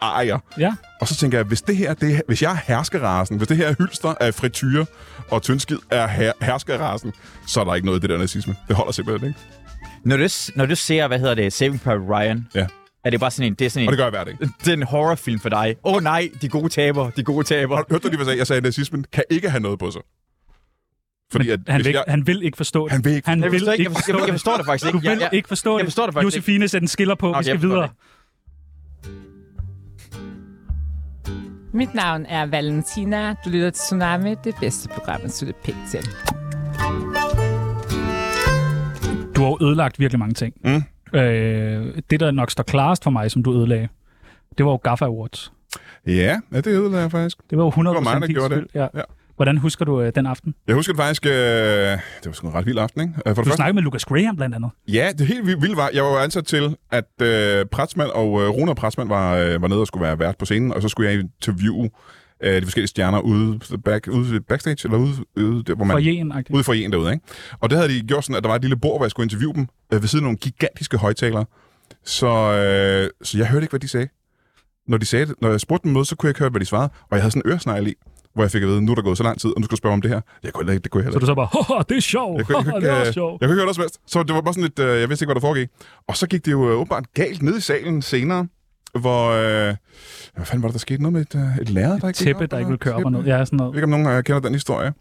[SPEAKER 3] arier.
[SPEAKER 1] Ja.
[SPEAKER 3] Og så tænker jeg, hvis, det her, det, er- hvis jeg er herskerasen, hvis det her er hylster af frityre og tyndskid er her, herskerasen, så er der ikke noget i det der nazisme. Det holder simpelthen ikke.
[SPEAKER 4] Når du, s- når du ser, hvad hedder det, Saving Private Ryan,
[SPEAKER 3] Ja.
[SPEAKER 4] er det bare sådan en, det er sådan
[SPEAKER 3] Og det
[SPEAKER 4] en,
[SPEAKER 3] gør jeg hver dag.
[SPEAKER 4] det er en horrorfilm for dig. Åh oh, nej, de gode taber, de gode taber.
[SPEAKER 3] Hørte du lige, hvad jeg sagde? Jeg sagde, at nazismen kan ikke have noget på sig. Fordi at,
[SPEAKER 1] Han
[SPEAKER 3] hvis
[SPEAKER 1] vil, ikke,
[SPEAKER 3] jeg,
[SPEAKER 1] han vil ikke forstå det.
[SPEAKER 3] Han vil ikke
[SPEAKER 1] han
[SPEAKER 4] Jeg
[SPEAKER 1] vil
[SPEAKER 4] forstår, ikke,
[SPEAKER 1] ikke
[SPEAKER 4] jeg,
[SPEAKER 1] forstå
[SPEAKER 4] forstår, jeg
[SPEAKER 1] det.
[SPEAKER 4] forstår det faktisk ikke.
[SPEAKER 1] Du vil
[SPEAKER 4] jeg, jeg,
[SPEAKER 1] ikke forstå det.
[SPEAKER 4] jeg forstår det faktisk
[SPEAKER 1] Josefine, sæt en skiller på.
[SPEAKER 4] Okay,
[SPEAKER 1] Vi skal
[SPEAKER 4] jeg forstår
[SPEAKER 1] videre.
[SPEAKER 6] Mit navn er Valentina. Du lytter til Tsunami, det bedste program, at slutte pænt til.
[SPEAKER 1] Du har jo ødelagt virkelig mange ting. Mm. Øh, det, der nok står klarest for mig, som du ødelagde, det var jo Gaffa Awards.
[SPEAKER 3] ja, ja, det ødelagde jeg faktisk.
[SPEAKER 1] Det var jo 100%
[SPEAKER 3] Det var mig, der
[SPEAKER 1] din
[SPEAKER 3] gjorde det.
[SPEAKER 1] skyld. Ja.
[SPEAKER 3] Ja.
[SPEAKER 1] Hvordan husker du øh, den aften?
[SPEAKER 3] Jeg husker det faktisk... Øh, det var sgu en ret vild aften, ikke? Øh, For det
[SPEAKER 1] Du
[SPEAKER 3] første,
[SPEAKER 1] snakkede med Lucas Graham blandt andet.
[SPEAKER 3] Ja, det helt vildt vildt var, jeg var jo ansat til, at øh, Pratsmand og øh, Rune og Pratsmand var, øh, var nede og skulle være vært på scenen, og så skulle jeg interviewe øh, de forskellige stjerner ude, back, ude backstage, eller ude, ude der, hvor man...
[SPEAKER 1] For Jen,
[SPEAKER 3] Ude for en derude, ikke? Og det havde de gjort sådan, at der var et lille bord, hvor jeg skulle interviewe dem øh, ved siden af nogle gigantiske højtalere. Så, øh, så jeg hørte ikke, hvad de sagde. Når, de sagde det, når jeg spurgte dem noget, så kunne jeg ikke høre, hvad de svarede. Og jeg havde sådan en øresnegl i, hvor jeg fik at vide, nu er der gået så lang tid, og nu skal du spørge om det her. Jeg kunne heller ikke, det kunne jeg heller
[SPEAKER 1] Så du så bare, "Haha, det er sjovt.
[SPEAKER 3] jeg kunne, jeg,
[SPEAKER 1] Haha,
[SPEAKER 3] kunne,
[SPEAKER 1] (laughs) det
[SPEAKER 3] ikke, øh,
[SPEAKER 1] er
[SPEAKER 3] jeg
[SPEAKER 1] også sjovt.
[SPEAKER 3] kunne ikke høre noget som helst. Så det var bare sådan lidt, øh, jeg vidste ikke, hvad der foregik. Og så gik det jo øh, åbenbart galt ned i salen senere, hvor... Øh, hvad fanden var det, der skete? Noget med et, øh, et lærer, der ikke gik
[SPEAKER 1] Tæppe,
[SPEAKER 3] op,
[SPEAKER 1] der
[SPEAKER 3] eller
[SPEAKER 1] ikke vil køre op
[SPEAKER 3] tæppe?
[SPEAKER 1] og ned. Ja, sådan
[SPEAKER 3] Jeg
[SPEAKER 1] noget.
[SPEAKER 3] ved ikke, om nogen øh, kender den historie.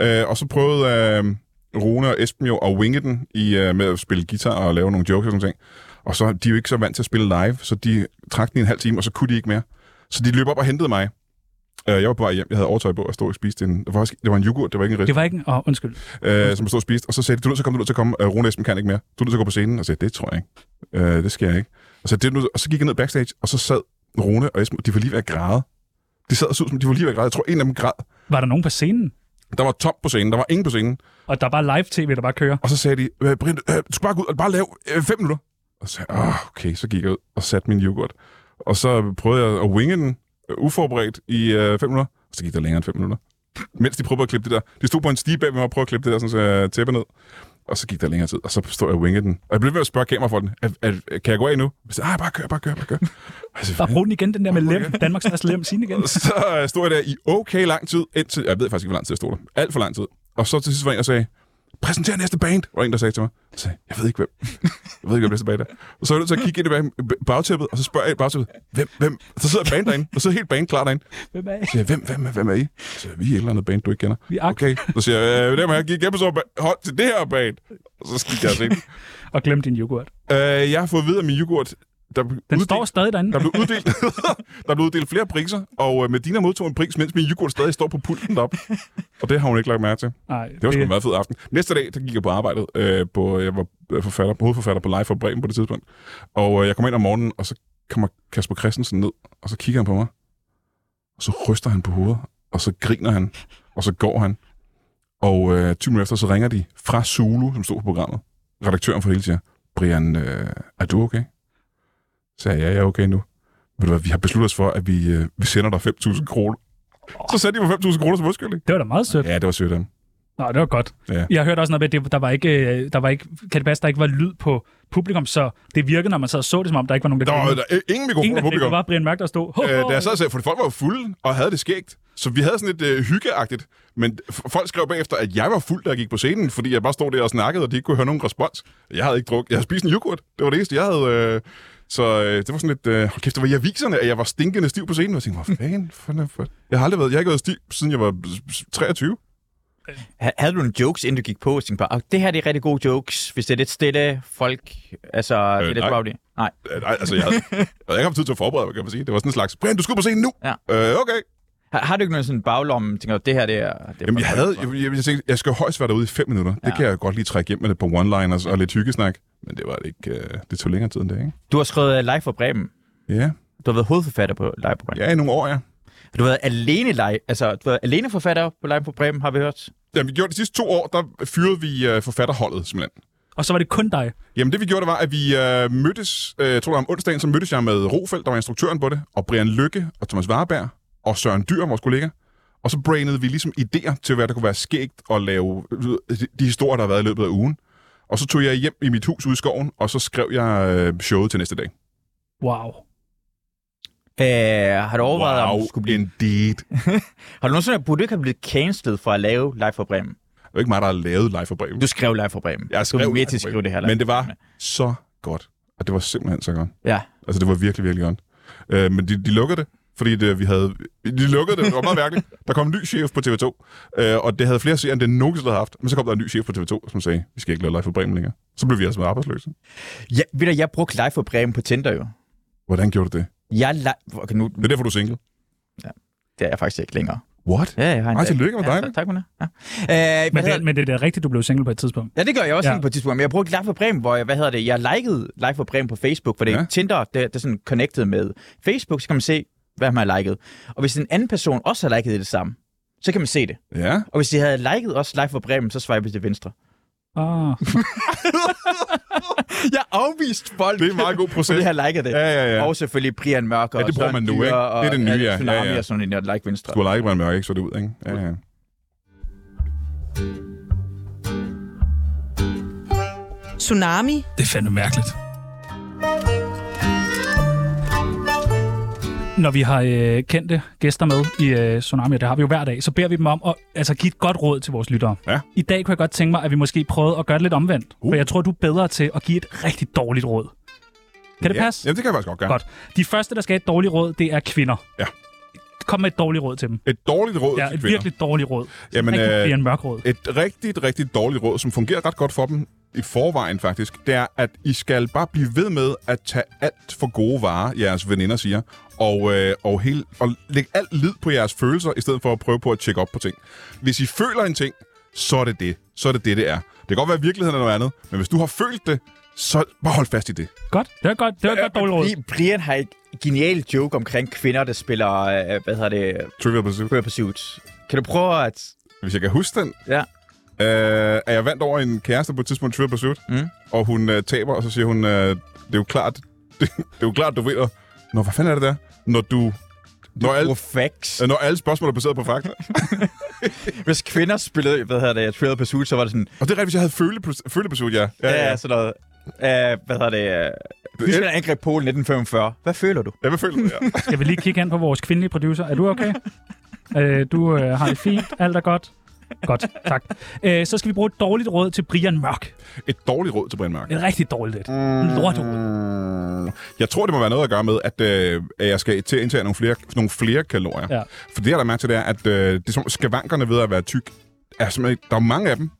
[SPEAKER 3] Øh, og så prøvede øh, Rune og Esben jo at winge den i, øh, med at spille guitar og lave nogle jokes og sådan ting. Og så de er jo ikke så vant til at spille live, så de trak den i en halv time, og så kunne de ikke mere. Så de løb op og hentede mig. Øh, jeg var på vej hjem, jeg havde overtøj på og stod og spiste en... Det var, faktisk- det var en yoghurt, det var ikke en ris
[SPEAKER 1] Det var ikke en... Åh, undskyld.
[SPEAKER 3] øh, som stod og spiste, og så sagde de, du er nødt til at komme, du er nødt til at komme, øh, Rune Esben kan ikke mere, du er nødt til at gå på scenen, og så sagde, jeg, det tror jeg ikke, øh, det sker jeg ikke. Og så, det, er du nødt til- og så gik jeg ned backstage, og så sad Rune og Esben, og de var lige ved at græde. De sad og så ud som, de var lige ved at græde, jeg tror en af dem græd.
[SPEAKER 1] Var der nogen på scenen?
[SPEAKER 3] Der var top på scenen, der var ingen på scenen,
[SPEAKER 1] Og der er bare live-tv, der bare kører.
[SPEAKER 3] og så sagde de, øh, Brind, øh, du skal bare gå ud og bare lave øh, fem minutter. Og så sagde jeg, "Åh, okay, så gik jeg ud og satte min yoghurt. Og så prøvede jeg at winge den øh, uforberedt i øh, fem minutter, og så gik der længere end fem minutter. Mens de prøvede at klippe det der. De stod på en stige bag mig og prøvede at klippe det der sådan, så jeg tæppe ned. Og så gik der længere tid, og så stod jeg og wingede den. Og jeg blev ved med at spørge kamerafolkene, "Er- er- kan jeg gå af nu? Jeg sagde, "Ah, bare kør, bare kør, bare kør. Og jeg sagde,
[SPEAKER 1] Bare brug den igen, den der med lem. Danmarks næste lem. Sige den igen.
[SPEAKER 3] så øh, stod jeg der i okay lang tid, indtil, jeg ved faktisk ikke, hvor lang tid jeg stod der. Alt for lang tid. Og så til sidst var en, der sagde, præsenter næste band, var en, der sagde til mig. Jeg sagde, jeg ved ikke, hvem. Jeg ved ikke, om jeg bliver tilbage der. Og så er jeg nødt til at kigge ind i bag- bagtæppet, og så spørger jeg i bagtæppet, hvem, hvem? Så sidder band derinde, og så er helt band klar derinde.
[SPEAKER 1] Hvem er I?
[SPEAKER 3] Så siger jeg, hvem, hvem, hvem er I? Så siger jeg, vi er et eller andet band, du ikke kender.
[SPEAKER 1] Vi er Ak.
[SPEAKER 3] Okay, så siger jeg, øh, dem her, gik hjemme så hold til det her band. Og så skal jeg se.
[SPEAKER 1] Og glem din yoghurt.
[SPEAKER 3] øh, jeg har fået at vide, at min yoghurt, der blev
[SPEAKER 1] Den
[SPEAKER 3] uddelt-
[SPEAKER 1] står stadig derinde.
[SPEAKER 3] der blev uddelt, der blev uddelt flere priser, og øh, Medina modtog en pris, mens min yoghurt stadig står på pulten op. Og det har hun ikke lagt mærke til.
[SPEAKER 1] Nej,
[SPEAKER 3] Det var sgu en meget fed aften. Næste dag, der gik jeg på arbejdet. Øh, på, jeg var øh, forfatter, hovedforfatter på Live for Bremen på det tidspunkt. Og øh, jeg kom ind om morgenen, og så kommer Kasper Christensen ned, og så kigger han på mig. Og så ryster han på hovedet, og så griner han, og så går han. Og øh, 20 minutter efter, så ringer de fra Zulu, som stod på programmet. Redaktøren for hele siger, Brian, øh, er du okay? Så sagde jeg, ja, jeg er okay nu. Ved du hvad, vi har besluttet os for, at vi, øh, vi sender dig 5.000 kroner. Så sendte de mig 5.000 kroner som undskyldning.
[SPEAKER 1] det var da meget sødt.
[SPEAKER 3] Ja, det var sødt af dem.
[SPEAKER 1] Nå, det var godt.
[SPEAKER 3] Ja.
[SPEAKER 1] Jeg hørte også noget med, at det, der, var ikke, øh, der var ikke, kan det passe, der ikke var lyd på publikum, så det virkede, når man sad og så det, som om der ikke var nogen, der
[SPEAKER 3] Der var
[SPEAKER 1] grinede.
[SPEAKER 3] der, øh, ingen
[SPEAKER 1] Ingen,
[SPEAKER 3] mikrofoner
[SPEAKER 1] der grinte,
[SPEAKER 3] på
[SPEAKER 1] det
[SPEAKER 3] publikum.
[SPEAKER 1] var Brian Mørk, der stod. Ho, ho.
[SPEAKER 3] Øh, da jeg sad og sagde, for folk var jo fulde og havde det skægt. Så vi havde sådan et øh, hyggeagtigt. Men f- folk skrev bagefter, at jeg var fuld, da jeg gik på scenen, fordi jeg bare stod der og snakkede, og de ikke kunne høre nogen respons. Jeg havde ikke drukket. Jeg havde spist en yoghurt. Det var det eneste, jeg havde. Øh, så øh, det var sådan lidt... Øh, hold kæft, det var i aviserne, at jeg var stinkende stiv på scenen. Og jeg tænkte, hvor fanden... fanden er for... Jeg har aldrig været... Jeg har ikke været stiv, siden jeg var s- 23.
[SPEAKER 4] Ha- Havde du nogle jokes, inden du gik på? Og tænkte bare, "Ah, det her det er rigtig gode jokes, hvis det er lidt stille, folk, altså, øh, det er lidt
[SPEAKER 3] nej.
[SPEAKER 4] rowdy. Nej.
[SPEAKER 3] Øh, nej, altså, jeg havde, jeg havde ikke haft tid til at forberede mig, kan man sige. Det var sådan en slags... Brian, du skulle på scenen nu!
[SPEAKER 4] Ja.
[SPEAKER 3] Øh, okay.
[SPEAKER 4] Har, har du ikke noget sådan baglomme, tænker du, det her det er... Det er
[SPEAKER 3] Jamen, jeg,
[SPEAKER 4] for-
[SPEAKER 3] havde, jeg, jeg, jeg tænkte, jeg skal højst være derude i fem minutter. Ja. Det kan jeg godt lige trække hjem med lidt på one-liners og lidt hyggesnak. Men det var det ikke, øh, det tog længere tid end det, ikke?
[SPEAKER 4] Du har skrevet øh, Live for Bremen.
[SPEAKER 3] Ja,
[SPEAKER 4] Du har været hovedforfatter på Live på Bremen.
[SPEAKER 3] ja i nogle år, ja.
[SPEAKER 4] Du har været alene, live, altså, du har været alene forfatter på Live på Bremen, har vi hørt.
[SPEAKER 3] Da vi gjorde de sidste to år, der fyrede vi øh, forfatterholdet, simpelthen.
[SPEAKER 1] Og så var det kun dig.
[SPEAKER 3] Jamen, det vi gjorde, det var, at vi øh, mødtes, øh, jeg tror det var om onsdagen, så mødtes jeg med Rofeldt, der var instruktøren på det, og Brian Lykke og Thomas Warberg og Søren Dyr, vores kollega. Og så brainede vi ligesom idéer til, hvad der kunne være skægt at lave øh, de- de historier, der har været i løbet af ugen. Og så tog jeg hjem i mit hus ude i skoven, og så skrev jeg øh, showet til næste dag.
[SPEAKER 1] Wow.
[SPEAKER 4] Øh, har du overvejet, wow. om du skulle blive...
[SPEAKER 3] indeed.
[SPEAKER 4] Har du nogensinde burde du ikke have blevet cancelled for at lave Live for Bremen?
[SPEAKER 3] Det er jo ikke mig, der har lavet live for Bremen.
[SPEAKER 4] Du skrev Live for Bremen.
[SPEAKER 3] Jeg skrev
[SPEAKER 4] du var med
[SPEAKER 3] Live
[SPEAKER 4] til at
[SPEAKER 3] for
[SPEAKER 4] skrive
[SPEAKER 3] Bremen.
[SPEAKER 4] det her. Live
[SPEAKER 3] Men det
[SPEAKER 4] for
[SPEAKER 3] var
[SPEAKER 4] Bremen.
[SPEAKER 3] så godt. Og det var simpelthen så godt.
[SPEAKER 4] Ja.
[SPEAKER 3] Altså, det var virkelig, virkelig godt. Øh, men de, de lukkede det, fordi det, vi havde... De lukkede det, det var meget mærkeligt. Der kom en ny chef på TV2, øh, og det havde flere seere, end det nogensinde havde haft. Men så kom der en ny chef på TV2, som sagde, vi skal ikke lave live for Bremen længere. Så blev vi altså arbejdsløse.
[SPEAKER 4] ja ved du, jeg brugte Live for Bremen på Tinder jo.
[SPEAKER 3] Hvordan gjorde du det?
[SPEAKER 4] Jeg li- okay, nu
[SPEAKER 3] Det er derfor, du er single.
[SPEAKER 4] det er jeg faktisk ikke længere.
[SPEAKER 3] What?
[SPEAKER 4] Ja, jeg har en
[SPEAKER 3] Ej,
[SPEAKER 4] dag.
[SPEAKER 3] tillykke med
[SPEAKER 4] ja,
[SPEAKER 3] dig,
[SPEAKER 4] tak-
[SPEAKER 3] mand.
[SPEAKER 4] Tak, Gunnar. Ja. Øh,
[SPEAKER 1] Men det,
[SPEAKER 4] hvad hedder,
[SPEAKER 1] er- men det er da rigtigt, du blev single på et tidspunkt.
[SPEAKER 4] ja, det gør jeg også
[SPEAKER 1] Ja.
[SPEAKER 4] ja. på et tidspunkt, men jeg brugte Live for Bremen, hvor jeg, hvad hedder det, jeg likede Live for Bremen på Facebook, for det
[SPEAKER 3] Ja.
[SPEAKER 4] ja. Tinder, det, det er sådan connected med Facebook, så kan man se, hvad man har liket. Og hvis en anden person også har liket det samme, så kan man se det.
[SPEAKER 3] Ja.
[SPEAKER 4] Og hvis de havde liket også Live for Bremen, så swiper de til venstre.
[SPEAKER 1] Ah.
[SPEAKER 4] Jeg afvist folk.
[SPEAKER 3] Det er en meget
[SPEAKER 4] (laughs)
[SPEAKER 3] god
[SPEAKER 4] Så
[SPEAKER 3] proces.
[SPEAKER 4] det har liket det.
[SPEAKER 3] Ja, ja, ja.
[SPEAKER 4] Og selvfølgelig Brian Mørk og
[SPEAKER 3] Ja, det bruger
[SPEAKER 4] Søren
[SPEAKER 3] man nu,
[SPEAKER 4] Dyr
[SPEAKER 3] ikke?
[SPEAKER 4] Og,
[SPEAKER 3] Det er det nye, ja.
[SPEAKER 4] ja. Tsunami
[SPEAKER 3] Ja, ja.
[SPEAKER 4] og sådan en, der like venstre.
[SPEAKER 3] Du har like, man mørke, ikke så det ud, ikke? Ja, ja.
[SPEAKER 5] Tsunami
[SPEAKER 1] Det er fandme mærkeligt. Når vi har øh, kendte gæster med i øh, Tsunami, og det har vi jo hver dag, så beder vi dem om at altså, give et godt råd til vores lyttere.
[SPEAKER 3] Ja.
[SPEAKER 1] I dag kunne jeg godt tænke mig, at vi måske prøvede at gøre det lidt omvendt. Uh.
[SPEAKER 3] Uh.
[SPEAKER 1] For jeg tror, du er bedre til at give et rigtig dårligt råd. Kan det
[SPEAKER 3] ja.
[SPEAKER 1] passe?
[SPEAKER 3] Jamen, det kan jeg faktisk godt gøre.
[SPEAKER 1] Godt. De første, der skal have et dårligt råd, det er kvinder.
[SPEAKER 3] Ja.
[SPEAKER 1] Kom med et dårligt råd til dem.
[SPEAKER 3] Et dårligt råd
[SPEAKER 1] Ja,
[SPEAKER 3] til
[SPEAKER 1] et
[SPEAKER 3] kvinder.
[SPEAKER 1] virkelig dårligt råd.
[SPEAKER 3] Jamen,
[SPEAKER 1] rigtig
[SPEAKER 3] øh,
[SPEAKER 1] øh... en mørk råd.
[SPEAKER 3] Et rigtigt, rigtig dårligt råd, som fungerer ret godt for dem i forvejen faktisk, det er, at I skal bare blive ved med at tage alt for gode varer, jeres veninder siger, og, øh, og, hele, og lægge alt lid på jeres følelser, i stedet for at prøve på at tjekke op på ting. Hvis I føler en ting, så er det det. Så er det det, det er. Det kan godt være, at virkeligheden er noget andet, men hvis du har følt det, så bare hold fast i det.
[SPEAKER 1] Godt. Det var godt. Det var et godt dårligt råd.
[SPEAKER 4] Bri- Brian har et genial joke omkring kvinder, der spiller, øh, hvad hedder det,
[SPEAKER 3] Trivial Pursuit.
[SPEAKER 4] Trivial Pursuit. Kan du prøve at...
[SPEAKER 3] Hvis jeg kan huske den,
[SPEAKER 4] Ja.
[SPEAKER 3] Øh, er jeg vandt over en kæreste på et tidspunkt i Trivial Pursuit,
[SPEAKER 4] Mm.
[SPEAKER 3] og hun øh, taber, og så siger hun, øh, det er jo klart, (laughs) det, det er jo klart, du vinder. Nå, hvad fanden er det der? Når du... Når alle,
[SPEAKER 4] Bruge facts.
[SPEAKER 3] øh, når alle spørgsmål er baseret på fakta.
[SPEAKER 4] Hvis kvinder spillede, hvad hedder det, Trivial Pursuit, så var det sådan,
[SPEAKER 3] og det er rigtigt, hvis jeg havde føle- følepursuit, ja. Ja,
[SPEAKER 4] ja,
[SPEAKER 3] ja.
[SPEAKER 4] ja. sådan noget. Uh, hvad hedder det? Uh, Tyskland angreb Polen 1945. Hvad føler du?
[SPEAKER 3] ja hvad føler du? Ja.
[SPEAKER 1] Skal vi lige kigge hen på vores kvindelige producer? Er du okay? Øh, du øh, har det fint, alt er godt. Godt, tak. Øh, så skal vi bruge et dårligt råd til Brian Mørk.
[SPEAKER 3] Et dårligt råd til Brian Mørk.
[SPEAKER 1] Et rigtig dårligt et. Mm. Lorteråd.
[SPEAKER 3] Mm, jeg tror, det må være noget at gøre med, at, øh, at jeg skal til at indtage nogle flere, nogle flere kalorier.
[SPEAKER 1] Ja.
[SPEAKER 3] For det, jeg der mærke til, det er, at øh, det er som, skavankerne ved at være tyk, er simpelthen, ikke- der er jo mange af dem,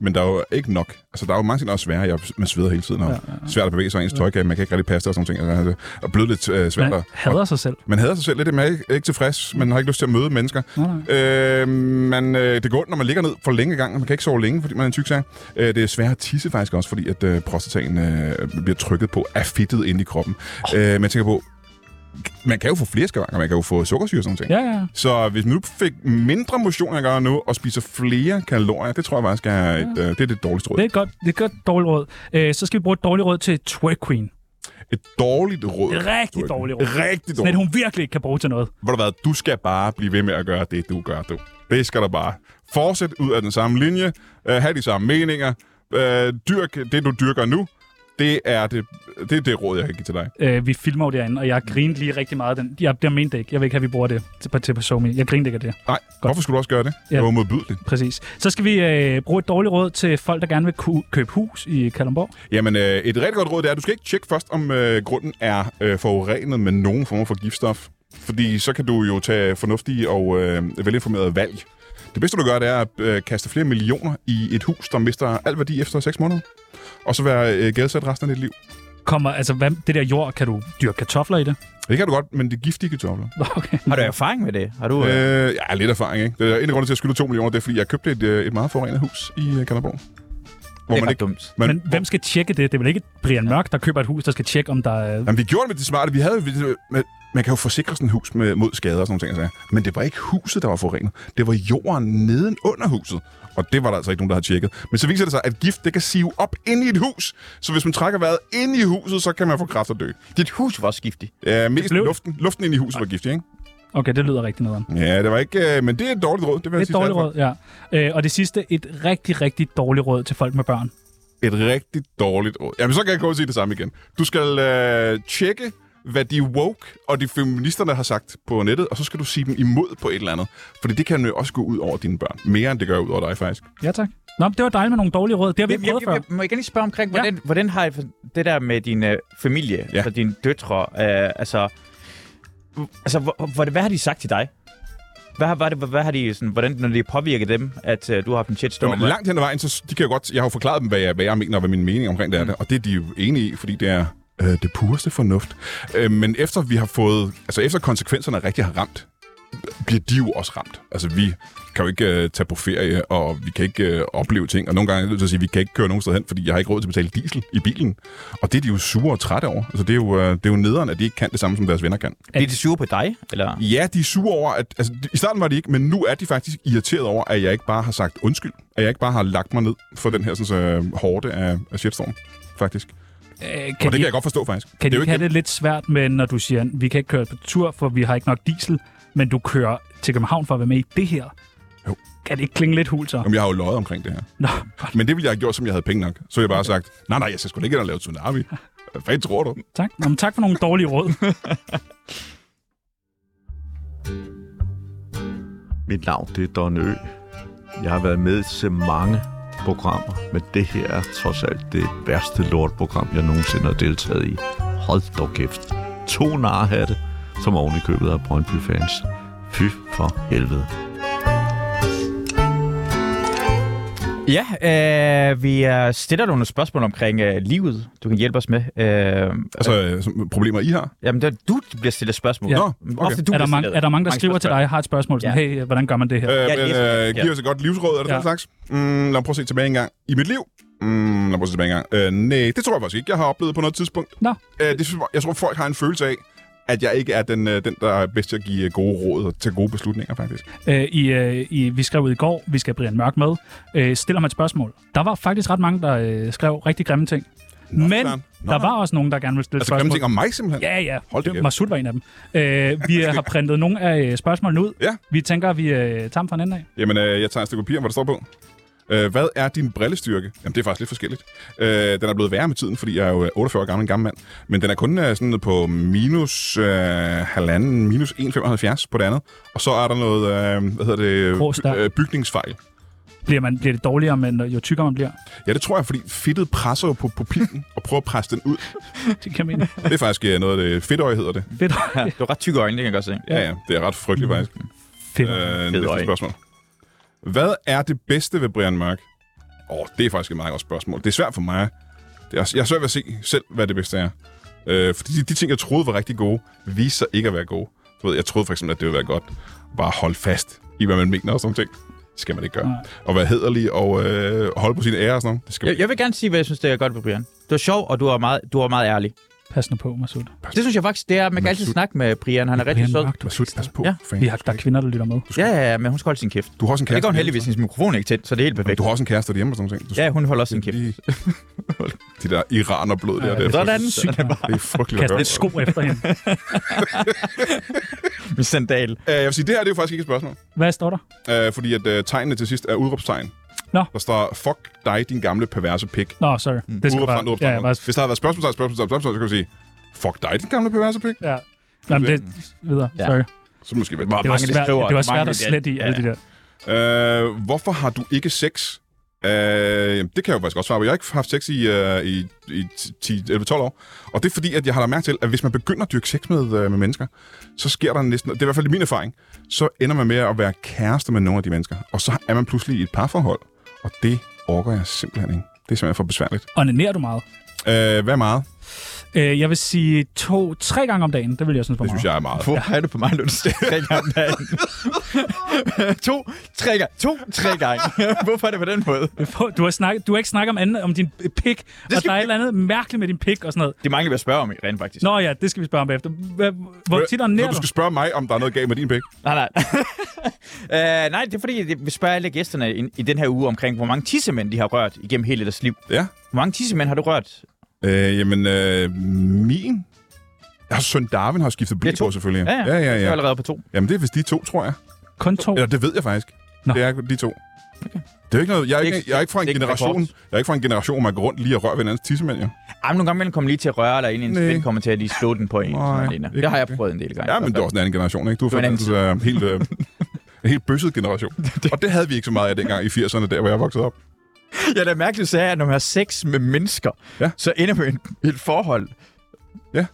[SPEAKER 3] men der er jo ikke nok. Altså, der er jo mange ting, der er svære. Jeg, man sveder hele tiden, og ja, ja, ja. svært at bevæge sig, og ens tøj kan, man kan ikke rigtig passe det og sådan nogle ting. Altså, og bløde lidt øh, svært.
[SPEAKER 1] Man
[SPEAKER 3] og-
[SPEAKER 1] hader sig selv.
[SPEAKER 3] man hader sig selv lidt, man er ikke, ikke tilfreds, man har ikke lyst til at møde mennesker. Øh, man, øh, det går ondt, når man ligger ned for længe gang, og man kan ikke sove længe, fordi man er en tyk sag. Øh, det er svært at tisse faktisk også, fordi at øh, prostataen øh, bliver trykket på af fedtet inde i kroppen. Oh. Øh, man tænker på, man kan jo få flere skavanker, man kan jo få sukkersyge og sådan noget.
[SPEAKER 1] Ja, ja.
[SPEAKER 3] Så hvis man nu fik mindre motion, end jeg gør nu, og spiser flere kalorier, det tror jeg faktisk er, et, øh, det, er det dårligste råd.
[SPEAKER 1] Det er et godt, det er et godt dårligt råd. Øh, så skal vi bruge et dårligt råd til Twerk Queen.
[SPEAKER 3] Et dårligt råd.
[SPEAKER 1] Et rigtig dårligt råd.
[SPEAKER 3] Rigtig
[SPEAKER 1] Men
[SPEAKER 3] dårligt.
[SPEAKER 1] hun virkelig ikke kan bruge til noget.
[SPEAKER 3] Ved du hvad, du skal bare blive ved med at gøre det, du gør, du. Det skal du bare. Fortsæt ud af den samme linje, øh, have de samme meninger, øh, dyrk det, du dyrker nu. Det er det, det, er det råd, jeg kan give til dig.
[SPEAKER 1] Øh, vi filmer jo derinde, og jeg grinede lige rigtig meget. af Den. Jeg, jeg mente det ikke. Jeg vil ikke have, at vi bruger det til, på, til på SoMe. Jeg grinede ikke af det.
[SPEAKER 3] Nej, Godt. hvorfor skulle du også gøre det?
[SPEAKER 1] Ja.
[SPEAKER 3] Ja. Det var modbydeligt.
[SPEAKER 1] Præcis. Så skal vi øh, bruge et dårligt råd til folk, der gerne vil ku- købe hus i Kalundborg.
[SPEAKER 3] Jamen, øh, et rigtig godt råd det er, at du skal ikke tjekke først, om øh, grunden er øh, forurenet med nogen form for giftstof. Fordi så kan du jo tage fornuftige og øh, velinformerede valg. Det bedste, du gør, det er at øh, kaste flere millioner i et hus, der mister al værdi efter 6 måneder. Og så være øh, gældsat resten af dit liv.
[SPEAKER 1] Kommer, altså, hvad, det der jord, kan du dyrke kartofler i det?
[SPEAKER 3] Det kan du godt, men det er giftige kartofler.
[SPEAKER 1] Nå, Okay.
[SPEAKER 4] Har du erfaring med det? Har du, øh,
[SPEAKER 3] Øh, ja, lidt erfaring, ikke? Det er en af grundene til, at jeg skylder 2 millioner, det er, fordi jeg købte et, øh, et meget forurenet hus i øh, Kalderborg. Hvor
[SPEAKER 4] det
[SPEAKER 3] man
[SPEAKER 4] er ret
[SPEAKER 3] ikke...
[SPEAKER 4] dumt.
[SPEAKER 3] Man,
[SPEAKER 1] Men hvem skal tjekke det? Det er vel ikke Brian Mørk, der køber et hus, der skal tjekke, om der er...
[SPEAKER 3] Jamen, vi gjorde det med de smarte. Vi havde, vi, man, man kan jo forsikre sådan et hus med, mod skader og sådan nogle ting. Altså. Men det var ikke huset, der var forurenet. Det var jorden neden under huset. Og det var der altså ikke nogen, der havde tjekket. Men så viser det sig, at gift det kan sive op ind i et hus. Så hvis man trækker vejret ind i huset, så kan man få kræft og dø.
[SPEAKER 4] Dit hus var også giftigt.
[SPEAKER 3] Ja, mest
[SPEAKER 1] blev det.
[SPEAKER 3] luften, luften ind i huset var giftig, ikke?
[SPEAKER 1] Okay, det lyder rigtig noget.
[SPEAKER 3] Ja, det var ikke... Øh, men det er et dårligt råd. Det vil jeg
[SPEAKER 1] Et
[SPEAKER 3] sige
[SPEAKER 1] dårligt
[SPEAKER 3] derfor.
[SPEAKER 1] råd, ja. Øh, og det sidste, et rigtig, rigtig dårligt råd til folk med børn.
[SPEAKER 3] Et rigtig dårligt råd. Jamen, så kan jeg kun sige det samme igen. Du skal øh, tjekke, hvad de woke og de feministerne har sagt på nettet, og så skal du sige dem imod på et eller andet. Fordi det kan jo også gå ud over dine børn. Mere end det gør ud over dig, faktisk.
[SPEAKER 1] Ja, tak. Nå, men det var dejligt med nogle dårlige råd. Det har vi
[SPEAKER 4] Jeg,
[SPEAKER 1] ikke
[SPEAKER 4] jeg,
[SPEAKER 1] prøvet før.
[SPEAKER 4] jeg, må jeg gerne lige spørge omkring, hvordan, ja. hvordan har I det der med din øh, familie,
[SPEAKER 3] Ja.
[SPEAKER 4] ja. og dine døtre, øh, altså, altså hvor, hvor, hvad har de sagt til dig? Hvad har, hvad, hvad, hvad har de, sådan, hvordan, når det påvirker dem, at øh, du har haft en
[SPEAKER 3] Jo,
[SPEAKER 4] shitstorm?
[SPEAKER 3] men langt hen ad vejen, så de kan jo godt... Jeg har jo forklaret dem, hvad jeg, hvad jeg mener og hvad min mening omkring det er. Mm. Og det er de jo enige i, fordi det er øh, det pureste fornuft. Øh, men efter vi har fået... Altså efter konsekvenserne rigtig har ramt, bliver de jo også ramt. Altså vi kan jo ikke øh, tage på ferie, og vi kan ikke øh, opleve ting. Og nogle gange er jeg nødt til at sige, at vi kan ikke køre nogen sted hen, fordi jeg har ikke råd til at betale diesel i bilen. Og det er de jo sure og trætte over. Altså det er jo, øh, det er jo nederen, at de ikke kan det samme, som deres venner kan.
[SPEAKER 4] Bliver de sure på dig? Eller?
[SPEAKER 3] Ja, de er sure over, at... Altså, i starten var de ikke, men nu er de faktisk irriteret over, at jeg ikke bare har sagt undskyld. At jeg ikke bare har lagt mig ned for den her sådan, så, øh, hårde af, af shitstorm, faktisk. Kan
[SPEAKER 1] Øh,
[SPEAKER 3] og det
[SPEAKER 1] kan
[SPEAKER 3] kan
[SPEAKER 1] de,
[SPEAKER 3] jeg godt forstå, faktisk.
[SPEAKER 1] kan
[SPEAKER 3] det
[SPEAKER 1] de
[SPEAKER 3] er jo
[SPEAKER 1] ikke have
[SPEAKER 3] ikke
[SPEAKER 1] det lidt svært med, når du siger, vi kan ikke køre på tur, for vi har ikke nok diesel, men du kører til København for at være med i det her?
[SPEAKER 3] Jo.
[SPEAKER 1] Kan det ikke klinge lidt hul så?
[SPEAKER 3] Jamen, jeg har jo løjet omkring det her.
[SPEAKER 1] Nå,
[SPEAKER 3] Men det ville jeg have gjort, som jeg havde penge nok. Så ville jeg bare sagt, nej, nej, jeg skal sgu da ikke ind og lave tsunami. Hvad fanden tror du?
[SPEAKER 1] tak. Nå, men tak for nogle dårlige råd.
[SPEAKER 7] Mit navn det er Don Ø. Jeg har været med til mange programmer, men det her er trods alt det værste lortprogram, jeg nogensinde har deltaget i. Hold dog kæft. To narhatte, som oven i købet af Brøndby-fans. Fy for helvede.
[SPEAKER 4] Ja, øh, vi øh, stiller dig nogle spørgsmål omkring øh, livet, du kan hjælpe os med. Øh,
[SPEAKER 3] Altså, øh, som- problemer I har?
[SPEAKER 4] jamen, der, du bliver stillet spørgsmål.
[SPEAKER 3] Ja. Nå, okay.
[SPEAKER 4] Ofte du
[SPEAKER 1] er, der
[SPEAKER 4] bliver
[SPEAKER 1] mange,
[SPEAKER 4] stillet
[SPEAKER 1] er der mange, der skriver til
[SPEAKER 4] spørgsmål.
[SPEAKER 1] dig og har et spørgsmål, sådan, hey, hvordan gør man det her?
[SPEAKER 3] Øh,
[SPEAKER 4] Ja,
[SPEAKER 3] men,
[SPEAKER 4] det er-
[SPEAKER 3] øh, giv os et godt livsråd, eller ja.
[SPEAKER 1] Ja.
[SPEAKER 3] den slags. Mm, lad mig prøve at se tilbage en gang. I mit liv? Mm, lad mig prøve at se tilbage en gang. Øh, nej, det tror jeg faktisk ikke, jeg har oplevet på noget tidspunkt.
[SPEAKER 1] Nå.
[SPEAKER 3] Øh, det, synes jeg- jeg tror, folk har en følelse af, at jeg ikke er den, øh, den der er bedst til at give øh, gode råd og tage gode beslutninger, faktisk.
[SPEAKER 1] Øh, i, øh, i, vi skrev ud i går, vi skal have Brian Mørk med. Øh, stiller man et spørgsmål. Der var faktisk ret mange, der øh, skrev rigtig grimme ting. Nå, Men
[SPEAKER 3] sådan. Nå,
[SPEAKER 1] der
[SPEAKER 3] nå.
[SPEAKER 1] var også nogen, der gerne ville stille
[SPEAKER 3] Altså,
[SPEAKER 1] spørgsmål.
[SPEAKER 3] grimme ting om mig, simpelthen.
[SPEAKER 1] Ja, ja.
[SPEAKER 3] Hold da
[SPEAKER 1] Det-
[SPEAKER 3] kæft.
[SPEAKER 1] Masud var en af dem. Øh, vi øh, har printet nogle af øh, spørgsmålene ud.
[SPEAKER 3] Ja.
[SPEAKER 1] Vi tænker, at vi øh, tager dem fra en ende af.
[SPEAKER 3] Jamen, øh, jeg tager et stykke papir, hvor der står på. Øh, hvad er din brillestyrke? Jamen, det er faktisk lidt forskelligt. Øh, den er blevet værre med tiden, fordi jeg er jo øh, 48 år gammel, en gammel mand. Men den er kun øh, sådan på minus øh, halvanden, minus 1,75 på det andet. Og så er der noget, øh, hvad hedder det,
[SPEAKER 1] Grå stær.
[SPEAKER 3] øh, bygningsfejl.
[SPEAKER 1] Bliver, man, bliver det dårligere, men øh, jo tykkere man
[SPEAKER 3] (laughs)
[SPEAKER 1] bliver?
[SPEAKER 3] Ja, det tror jeg, fordi fedtet presser jo på pupillen og prøver at presse den ud.
[SPEAKER 1] Det kan jeg mene.
[SPEAKER 3] Det er faktisk øh, noget af det. Fedtøje hedder det.
[SPEAKER 1] Fedt.
[SPEAKER 4] Ja, du har ret tykke øjne, det kan jeg godt se.
[SPEAKER 3] Ja, ja. Det er ret
[SPEAKER 1] Mm.
[SPEAKER 3] frygteligt, faktisk.
[SPEAKER 1] Fedt.
[SPEAKER 3] Øh,
[SPEAKER 4] øje.
[SPEAKER 3] næste spørgsmål. Hvad er det bedste ved Brian Mørk? Åh, oh, det er faktisk et meget godt spørgsmål. Det er svært for mig. Det er, jeg er svært ved at se selv, hvad det bedste er. Øh, fordi de, de ting, jeg troede var rigtig gode, viste sig ikke at være gode. Du ved, jeg troede for eksempel, at det ville være godt bare at holde fast i, hvad man mener og sådan nogle ting. Det skal man ikke gøre. Og være hederlig og øh, holde på sin ære og sådan noget. Det skal man
[SPEAKER 4] Jeg, jeg vil gerne sige, hvad jeg synes, det er godt ved Brian. Du er sjov, og du er meget, du er meget ærlig.
[SPEAKER 1] Pas nu på, Masud.
[SPEAKER 4] Det synes jeg faktisk, det er, man kan altid snakke med Brian, han er rigtig
[SPEAKER 1] Brian
[SPEAKER 4] sød.
[SPEAKER 1] Mørk, du
[SPEAKER 3] Hvad synes du? Pas på,
[SPEAKER 4] Ja.
[SPEAKER 3] fan.
[SPEAKER 1] Vi har, der er kvinder, der lytter med.
[SPEAKER 4] Ja, ja, ja, men hun skal holde sin kæft.
[SPEAKER 3] Du har også en
[SPEAKER 4] Og det
[SPEAKER 3] kæreste.
[SPEAKER 4] går hun heldigvis, hendes mikrofon er ikke tændt, så det er helt perfekt.
[SPEAKER 3] Du har også en kæreste derhjemme og sådan nogle ting. Du
[SPEAKER 4] Ja, hun holder også sin kæft.
[SPEAKER 3] lige... (laughs) De der iranerblod der. (laughs) Ja, det, er
[SPEAKER 4] Sådan.
[SPEAKER 3] frygteligt.
[SPEAKER 4] Sådan
[SPEAKER 3] Det er frygteligt at
[SPEAKER 1] Kast
[SPEAKER 3] høre.
[SPEAKER 1] lidt sko efter hende.
[SPEAKER 4] Min sandal.
[SPEAKER 3] Øh, jeg vil sige, det her det er jo faktisk ikke et spørgsmål.
[SPEAKER 1] Hvad står der?
[SPEAKER 3] Øh, fordi at øh, tegnene til sidst er udråbstegn.
[SPEAKER 1] Nå.
[SPEAKER 3] Der står, fuck dig, din gamle perverse pik.
[SPEAKER 1] Nå, sorry.
[SPEAKER 3] Mm.
[SPEAKER 1] Det skal
[SPEAKER 3] Udråbstegn,
[SPEAKER 1] bare... Ja,
[SPEAKER 3] udråbstegn.
[SPEAKER 1] ja, bare...
[SPEAKER 3] Hvis der havde været spørgsmålstegn, spørgsmålstegn, spørgsmålstegn, så kan du sige, fuck dig, din gamle perverse pik.
[SPEAKER 1] Ja. Jamen, det videre.
[SPEAKER 4] Ja.
[SPEAKER 1] Sorry.
[SPEAKER 3] Så måske vel bare.
[SPEAKER 1] Det var
[SPEAKER 4] Mange, der
[SPEAKER 1] svært,
[SPEAKER 4] skriver-
[SPEAKER 1] det var
[SPEAKER 4] mange,
[SPEAKER 1] svært at
[SPEAKER 4] der-
[SPEAKER 1] slette i
[SPEAKER 4] ja,
[SPEAKER 1] alle de der.
[SPEAKER 3] Øh, hvorfor har du ikke sex? Øh, det kan jeg jo faktisk godt svare på. Jeg har ikke haft sex i, øh, i, i 10-12 år. Og det er fordi, at jeg har lagt mærke til, at hvis man begynder at dyrke sex med, øh, med mennesker, så sker der næsten, det er i hvert fald min erfaring, så ender man med at være kæreste med nogle af de mennesker. Og så er man pludselig i et parforhold. Og det orker jeg simpelthen ikke. Det er simpelthen for besværligt.
[SPEAKER 1] Onanerer du meget?
[SPEAKER 3] Øh, hvad meget?
[SPEAKER 1] Øh, jeg vil sige to, tre gange om dagen. Det vil jeg synes var
[SPEAKER 3] Det
[SPEAKER 1] meget.
[SPEAKER 3] synes jeg er meget.
[SPEAKER 4] Hvor er du på mig, (laughs) Lunds? Tre gange om dagen. (laughs) to, tre gange. To, tre gange. (laughs) Hvorfor er det på den måde?
[SPEAKER 1] (laughs) Du har, snakket, du har ikke snakket om, andet, om din pik, og der er et eller andet mærkeligt med din pik og sådan noget.
[SPEAKER 4] Det mangler vi at spørge om, rent faktisk.
[SPEAKER 1] Nå ja, det skal vi spørge om bagefter. Hvad- Hvor tit onanerer
[SPEAKER 3] Så
[SPEAKER 1] du?
[SPEAKER 3] du skal spørge mig, om der er noget galt med din pik.
[SPEAKER 4] Nej, nej. (laughs) øh, nej, det er fordi, det- vi spørger alle gæsterne i, i den her uge omkring, hvor mange tissemænd de har rørt igennem hele deres liv.
[SPEAKER 3] Ja.
[SPEAKER 4] Hvor mange tissemænd har du rørt?
[SPEAKER 3] Øh, jamen, øh, min... Jeg har søn Darwin har skiftet blæ
[SPEAKER 4] Det er to.
[SPEAKER 3] på, selvfølgelig.
[SPEAKER 4] Ja, ja.
[SPEAKER 3] ja,
[SPEAKER 4] Jeg er
[SPEAKER 3] ja, ja.
[SPEAKER 4] allerede på to.
[SPEAKER 3] Jamen, det er vist de to, tror jeg.
[SPEAKER 1] Kun to?
[SPEAKER 3] Eller det ved jeg faktisk.
[SPEAKER 1] Nå.
[SPEAKER 3] Nå. Det er de to. Okay. Det er jo ikke noget... Jeg er
[SPEAKER 4] Det er
[SPEAKER 3] ikke,
[SPEAKER 4] ikke-
[SPEAKER 3] jeg er ikke fra en
[SPEAKER 4] det er ikke
[SPEAKER 3] generation...
[SPEAKER 4] rekord.
[SPEAKER 3] Jeg er ikke fra en generation, hvor man går rundt lige og rører ved hinandens tissemænd, jo.
[SPEAKER 4] Ej, men nogle gange imellem kommer lige til at røre, eller en ens
[SPEAKER 3] Nej.
[SPEAKER 4] ven kommer til at lige slå den på en.
[SPEAKER 3] Nej,
[SPEAKER 4] sådan alene.
[SPEAKER 3] ikke
[SPEAKER 4] Det har jeg
[SPEAKER 3] rigtigt.
[SPEAKER 4] prøvet en del gange. Altså,
[SPEAKER 3] Ja, men det er også en anden generation, ikke? Du er
[SPEAKER 4] var en
[SPEAKER 3] fra
[SPEAKER 4] anden
[SPEAKER 3] den øh, helt... Øh,
[SPEAKER 4] (laughs)
[SPEAKER 3] en helt bøsset generation. Og det havde vi ikke så meget af dengang i 80'erne, der hvor jeg voksede op.
[SPEAKER 4] Ja, det er mærkeligt, så er, at når man har sex med mennesker, ja.
[SPEAKER 3] Ja.
[SPEAKER 4] så ender man i et forhold.
[SPEAKER 3] Ja.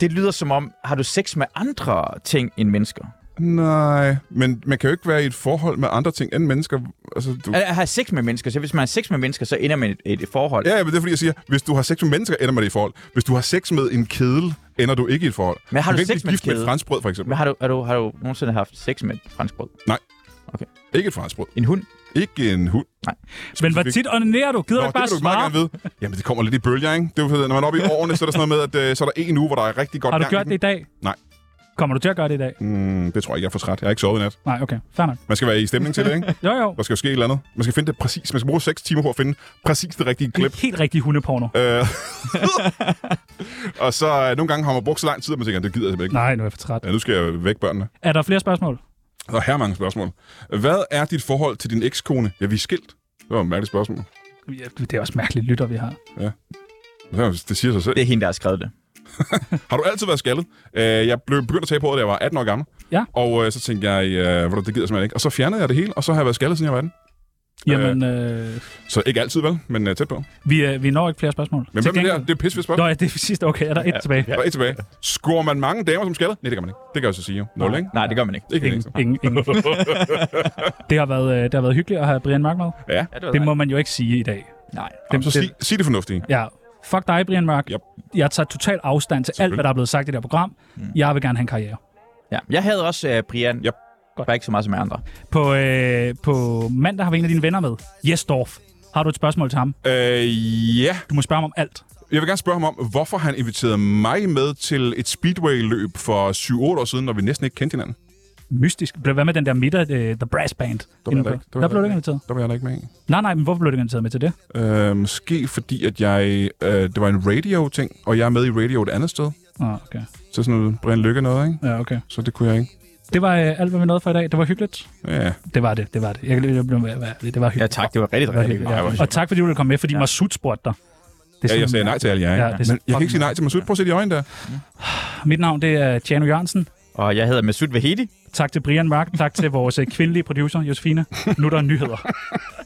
[SPEAKER 4] Det lyder som om, har du sex med andre ting end mennesker?
[SPEAKER 3] Nej, men man kan jo ikke være i et forhold med andre ting end mennesker. Altså, du...
[SPEAKER 4] Eller har sex med mennesker, så hvis man har sex med mennesker, så ender man i et, et forhold.
[SPEAKER 3] Ja, ja, men det er fordi, jeg siger, hvis du har sex med mennesker, ender man i et forhold. Hvis du har sex med en kedel, ender du ikke i et forhold.
[SPEAKER 4] Men har du
[SPEAKER 3] kan ikke
[SPEAKER 4] sex
[SPEAKER 3] blive
[SPEAKER 4] med en
[SPEAKER 3] gift med et
[SPEAKER 4] kedel?
[SPEAKER 3] franskbrød, for eksempel.
[SPEAKER 4] Men har du, har, du, har du nogensinde haft sex med et fransk brød?
[SPEAKER 3] Ikke et franskbrød.
[SPEAKER 4] En hund?
[SPEAKER 3] Ikke en hund.
[SPEAKER 1] Men hvor tit onanerer du? Gider
[SPEAKER 3] Nå,
[SPEAKER 1] du ikke
[SPEAKER 3] det
[SPEAKER 1] bare
[SPEAKER 3] vil du meget
[SPEAKER 1] svare?
[SPEAKER 3] gerne vide. Jamen, det kommer lidt i bølger, ikke? Det er jo, fordi, når man er oppe i årene, så er der sådan noget med, at øh, så er der en uge, hvor der er rigtig godt
[SPEAKER 1] Har du
[SPEAKER 3] gang i
[SPEAKER 1] gjort det i dag?
[SPEAKER 3] Nej.
[SPEAKER 1] Kommer du til at gøre det i dag?
[SPEAKER 3] den. Mm, det tror jeg ikke, jeg får træt. Jeg har ikke sovet i nat.
[SPEAKER 1] Nej, okay. Fair nok.
[SPEAKER 3] Man skal være i stemning til det, ikke?
[SPEAKER 1] Jo, jo.
[SPEAKER 3] Der skal jo ske et eller andet. Man skal finde det præcis. Man skal bruge 6 timer på at finde præcis det rigtige klip.
[SPEAKER 1] Det er helt rigtig hundeporno. (laughs)
[SPEAKER 3] Øh, og så øh, nogle gange har man brugt så lang tid, at man tænker, det gider jeg simpelthen ikke.
[SPEAKER 1] Nej, nu er jeg for træt.
[SPEAKER 3] Ja, nu skal jeg væk børnene.
[SPEAKER 1] Er der flere spørgsmål?
[SPEAKER 3] Der er her mange spørgsmål. Hvad er dit forhold til din ekskone? Ja, vi er skilt. Det var et mærkeligt spørgsmål.
[SPEAKER 1] Ja, Det er også mærkeligt lytter, vi har.
[SPEAKER 3] Det siger sig selv.
[SPEAKER 4] Det er hende, der har skrevet det.
[SPEAKER 3] Har du altid været skaldet? Øh, jeg blev begyndt at tage på det, da jeg var 18 år gammel.
[SPEAKER 1] Ja.
[SPEAKER 3] Og øh, så tænkte jeg, øh, hvor det gider jeg simpelthen ikke. Og så fjernede jeg det hele, og så har jeg været skaldet, siden jeg var 18.
[SPEAKER 1] Jamen, øh,
[SPEAKER 3] Så ikke altid vel, men øh, tæt på.
[SPEAKER 1] vi, øh, vi når ikke flere spørgsmål.
[SPEAKER 3] Men
[SPEAKER 1] Til
[SPEAKER 3] hvem er det her?
[SPEAKER 1] gengæld-
[SPEAKER 3] Det er pisse ved
[SPEAKER 1] Nå
[SPEAKER 3] spørgsmål.
[SPEAKER 1] ja, det er sidste. Okay, er der et tilbage?
[SPEAKER 3] Der er et tilbage. Scorer man mange damer som skaldet? Nej, det gør man ikke. Det kan jeg så sige jo. Nul, ikke?
[SPEAKER 4] Nej, det gør man ikke.
[SPEAKER 3] Ikke
[SPEAKER 1] Ingen,
[SPEAKER 3] ingen.
[SPEAKER 1] ingen,
[SPEAKER 3] (laughs)
[SPEAKER 1] ingen. det, har været, øh, det har været hyggeligt at have Brian Mørk med.
[SPEAKER 3] Ja.
[SPEAKER 4] Ja, var
[SPEAKER 1] Det må
[SPEAKER 4] dejligt.
[SPEAKER 1] man jo ikke sige i dag.
[SPEAKER 4] Nej.
[SPEAKER 3] Jamen, så sig, sig det fornuftige.
[SPEAKER 1] Ja, fuck dig, Brian Mørk.
[SPEAKER 3] Yep.
[SPEAKER 1] Jeg tager total afstand til alt, hvad der er blevet sagt i det her program.
[SPEAKER 3] Mm.
[SPEAKER 1] Jeg vil gerne have en karriere.
[SPEAKER 4] Ja. Jeg havde også uh, Brian.
[SPEAKER 3] Yep.
[SPEAKER 4] Bare ikke så meget som jer andre.
[SPEAKER 1] På, øh, på mandag har vi en af dine venner med. Jesdorf. Har du et spørgsmål til ham?
[SPEAKER 3] Øh, ja.
[SPEAKER 1] Du må spørge ham om alt.
[SPEAKER 3] Jeg vil gerne spørge ham om, hvorfor han inviterede mig med til et speedway-løb for 7-8 år siden, når vi næsten ikke kendte hinanden.
[SPEAKER 1] Mystisk. Blev- Hvad med den der middag, øh, The Brass Band?
[SPEAKER 3] Der
[SPEAKER 1] inde
[SPEAKER 3] var jeg da
[SPEAKER 1] på?
[SPEAKER 3] ikke-
[SPEAKER 1] der,
[SPEAKER 3] var jeg
[SPEAKER 1] blev du
[SPEAKER 3] da
[SPEAKER 1] ikke inviteret.
[SPEAKER 3] Der var jeg da ikke med i.
[SPEAKER 1] Nej, nej, men hvorfor blev du ikke inviteret med til det?
[SPEAKER 3] Øh, måske fordi, at jeg... Øh, det var en radio-ting, og jeg er med i radio et andet sted.
[SPEAKER 1] Ah, okay.
[SPEAKER 3] Så sådan noget Brian Lykke noget, ikke?
[SPEAKER 1] Ja, okay.
[SPEAKER 3] Så det kunne jeg ikke.
[SPEAKER 1] Det var øh, alt, hvad vi nåede for i dag. Det var hyggeligt.
[SPEAKER 3] Ja.
[SPEAKER 1] Det var det, det var det. Jeg kan lige jeg blev med at være ærlig. Det var hyggeligt.
[SPEAKER 4] Ja, tak. Det var rigtig, rigtig
[SPEAKER 1] hyggeligt.
[SPEAKER 4] godt.
[SPEAKER 1] Og tak, fordi du ville komme med, fordi ja. Masud spurgte dig. Det er
[SPEAKER 3] ja,
[SPEAKER 1] simpelthen-
[SPEAKER 3] jeg sagde nej til alle jer, ikke?
[SPEAKER 1] Ja,
[SPEAKER 3] Ja,
[SPEAKER 1] det er
[SPEAKER 3] Men jeg kan
[SPEAKER 1] fucking-
[SPEAKER 3] ikke sige nej til Masud. Prøv at se de øjne der.
[SPEAKER 1] Mit navn det er Tjano Jørgensen,
[SPEAKER 4] Og jeg hedder Masud Vahedi.
[SPEAKER 1] Tak til Brian Mark. Tak til vores øh, kvindelige producer, Josefine. Nu er der nyheder.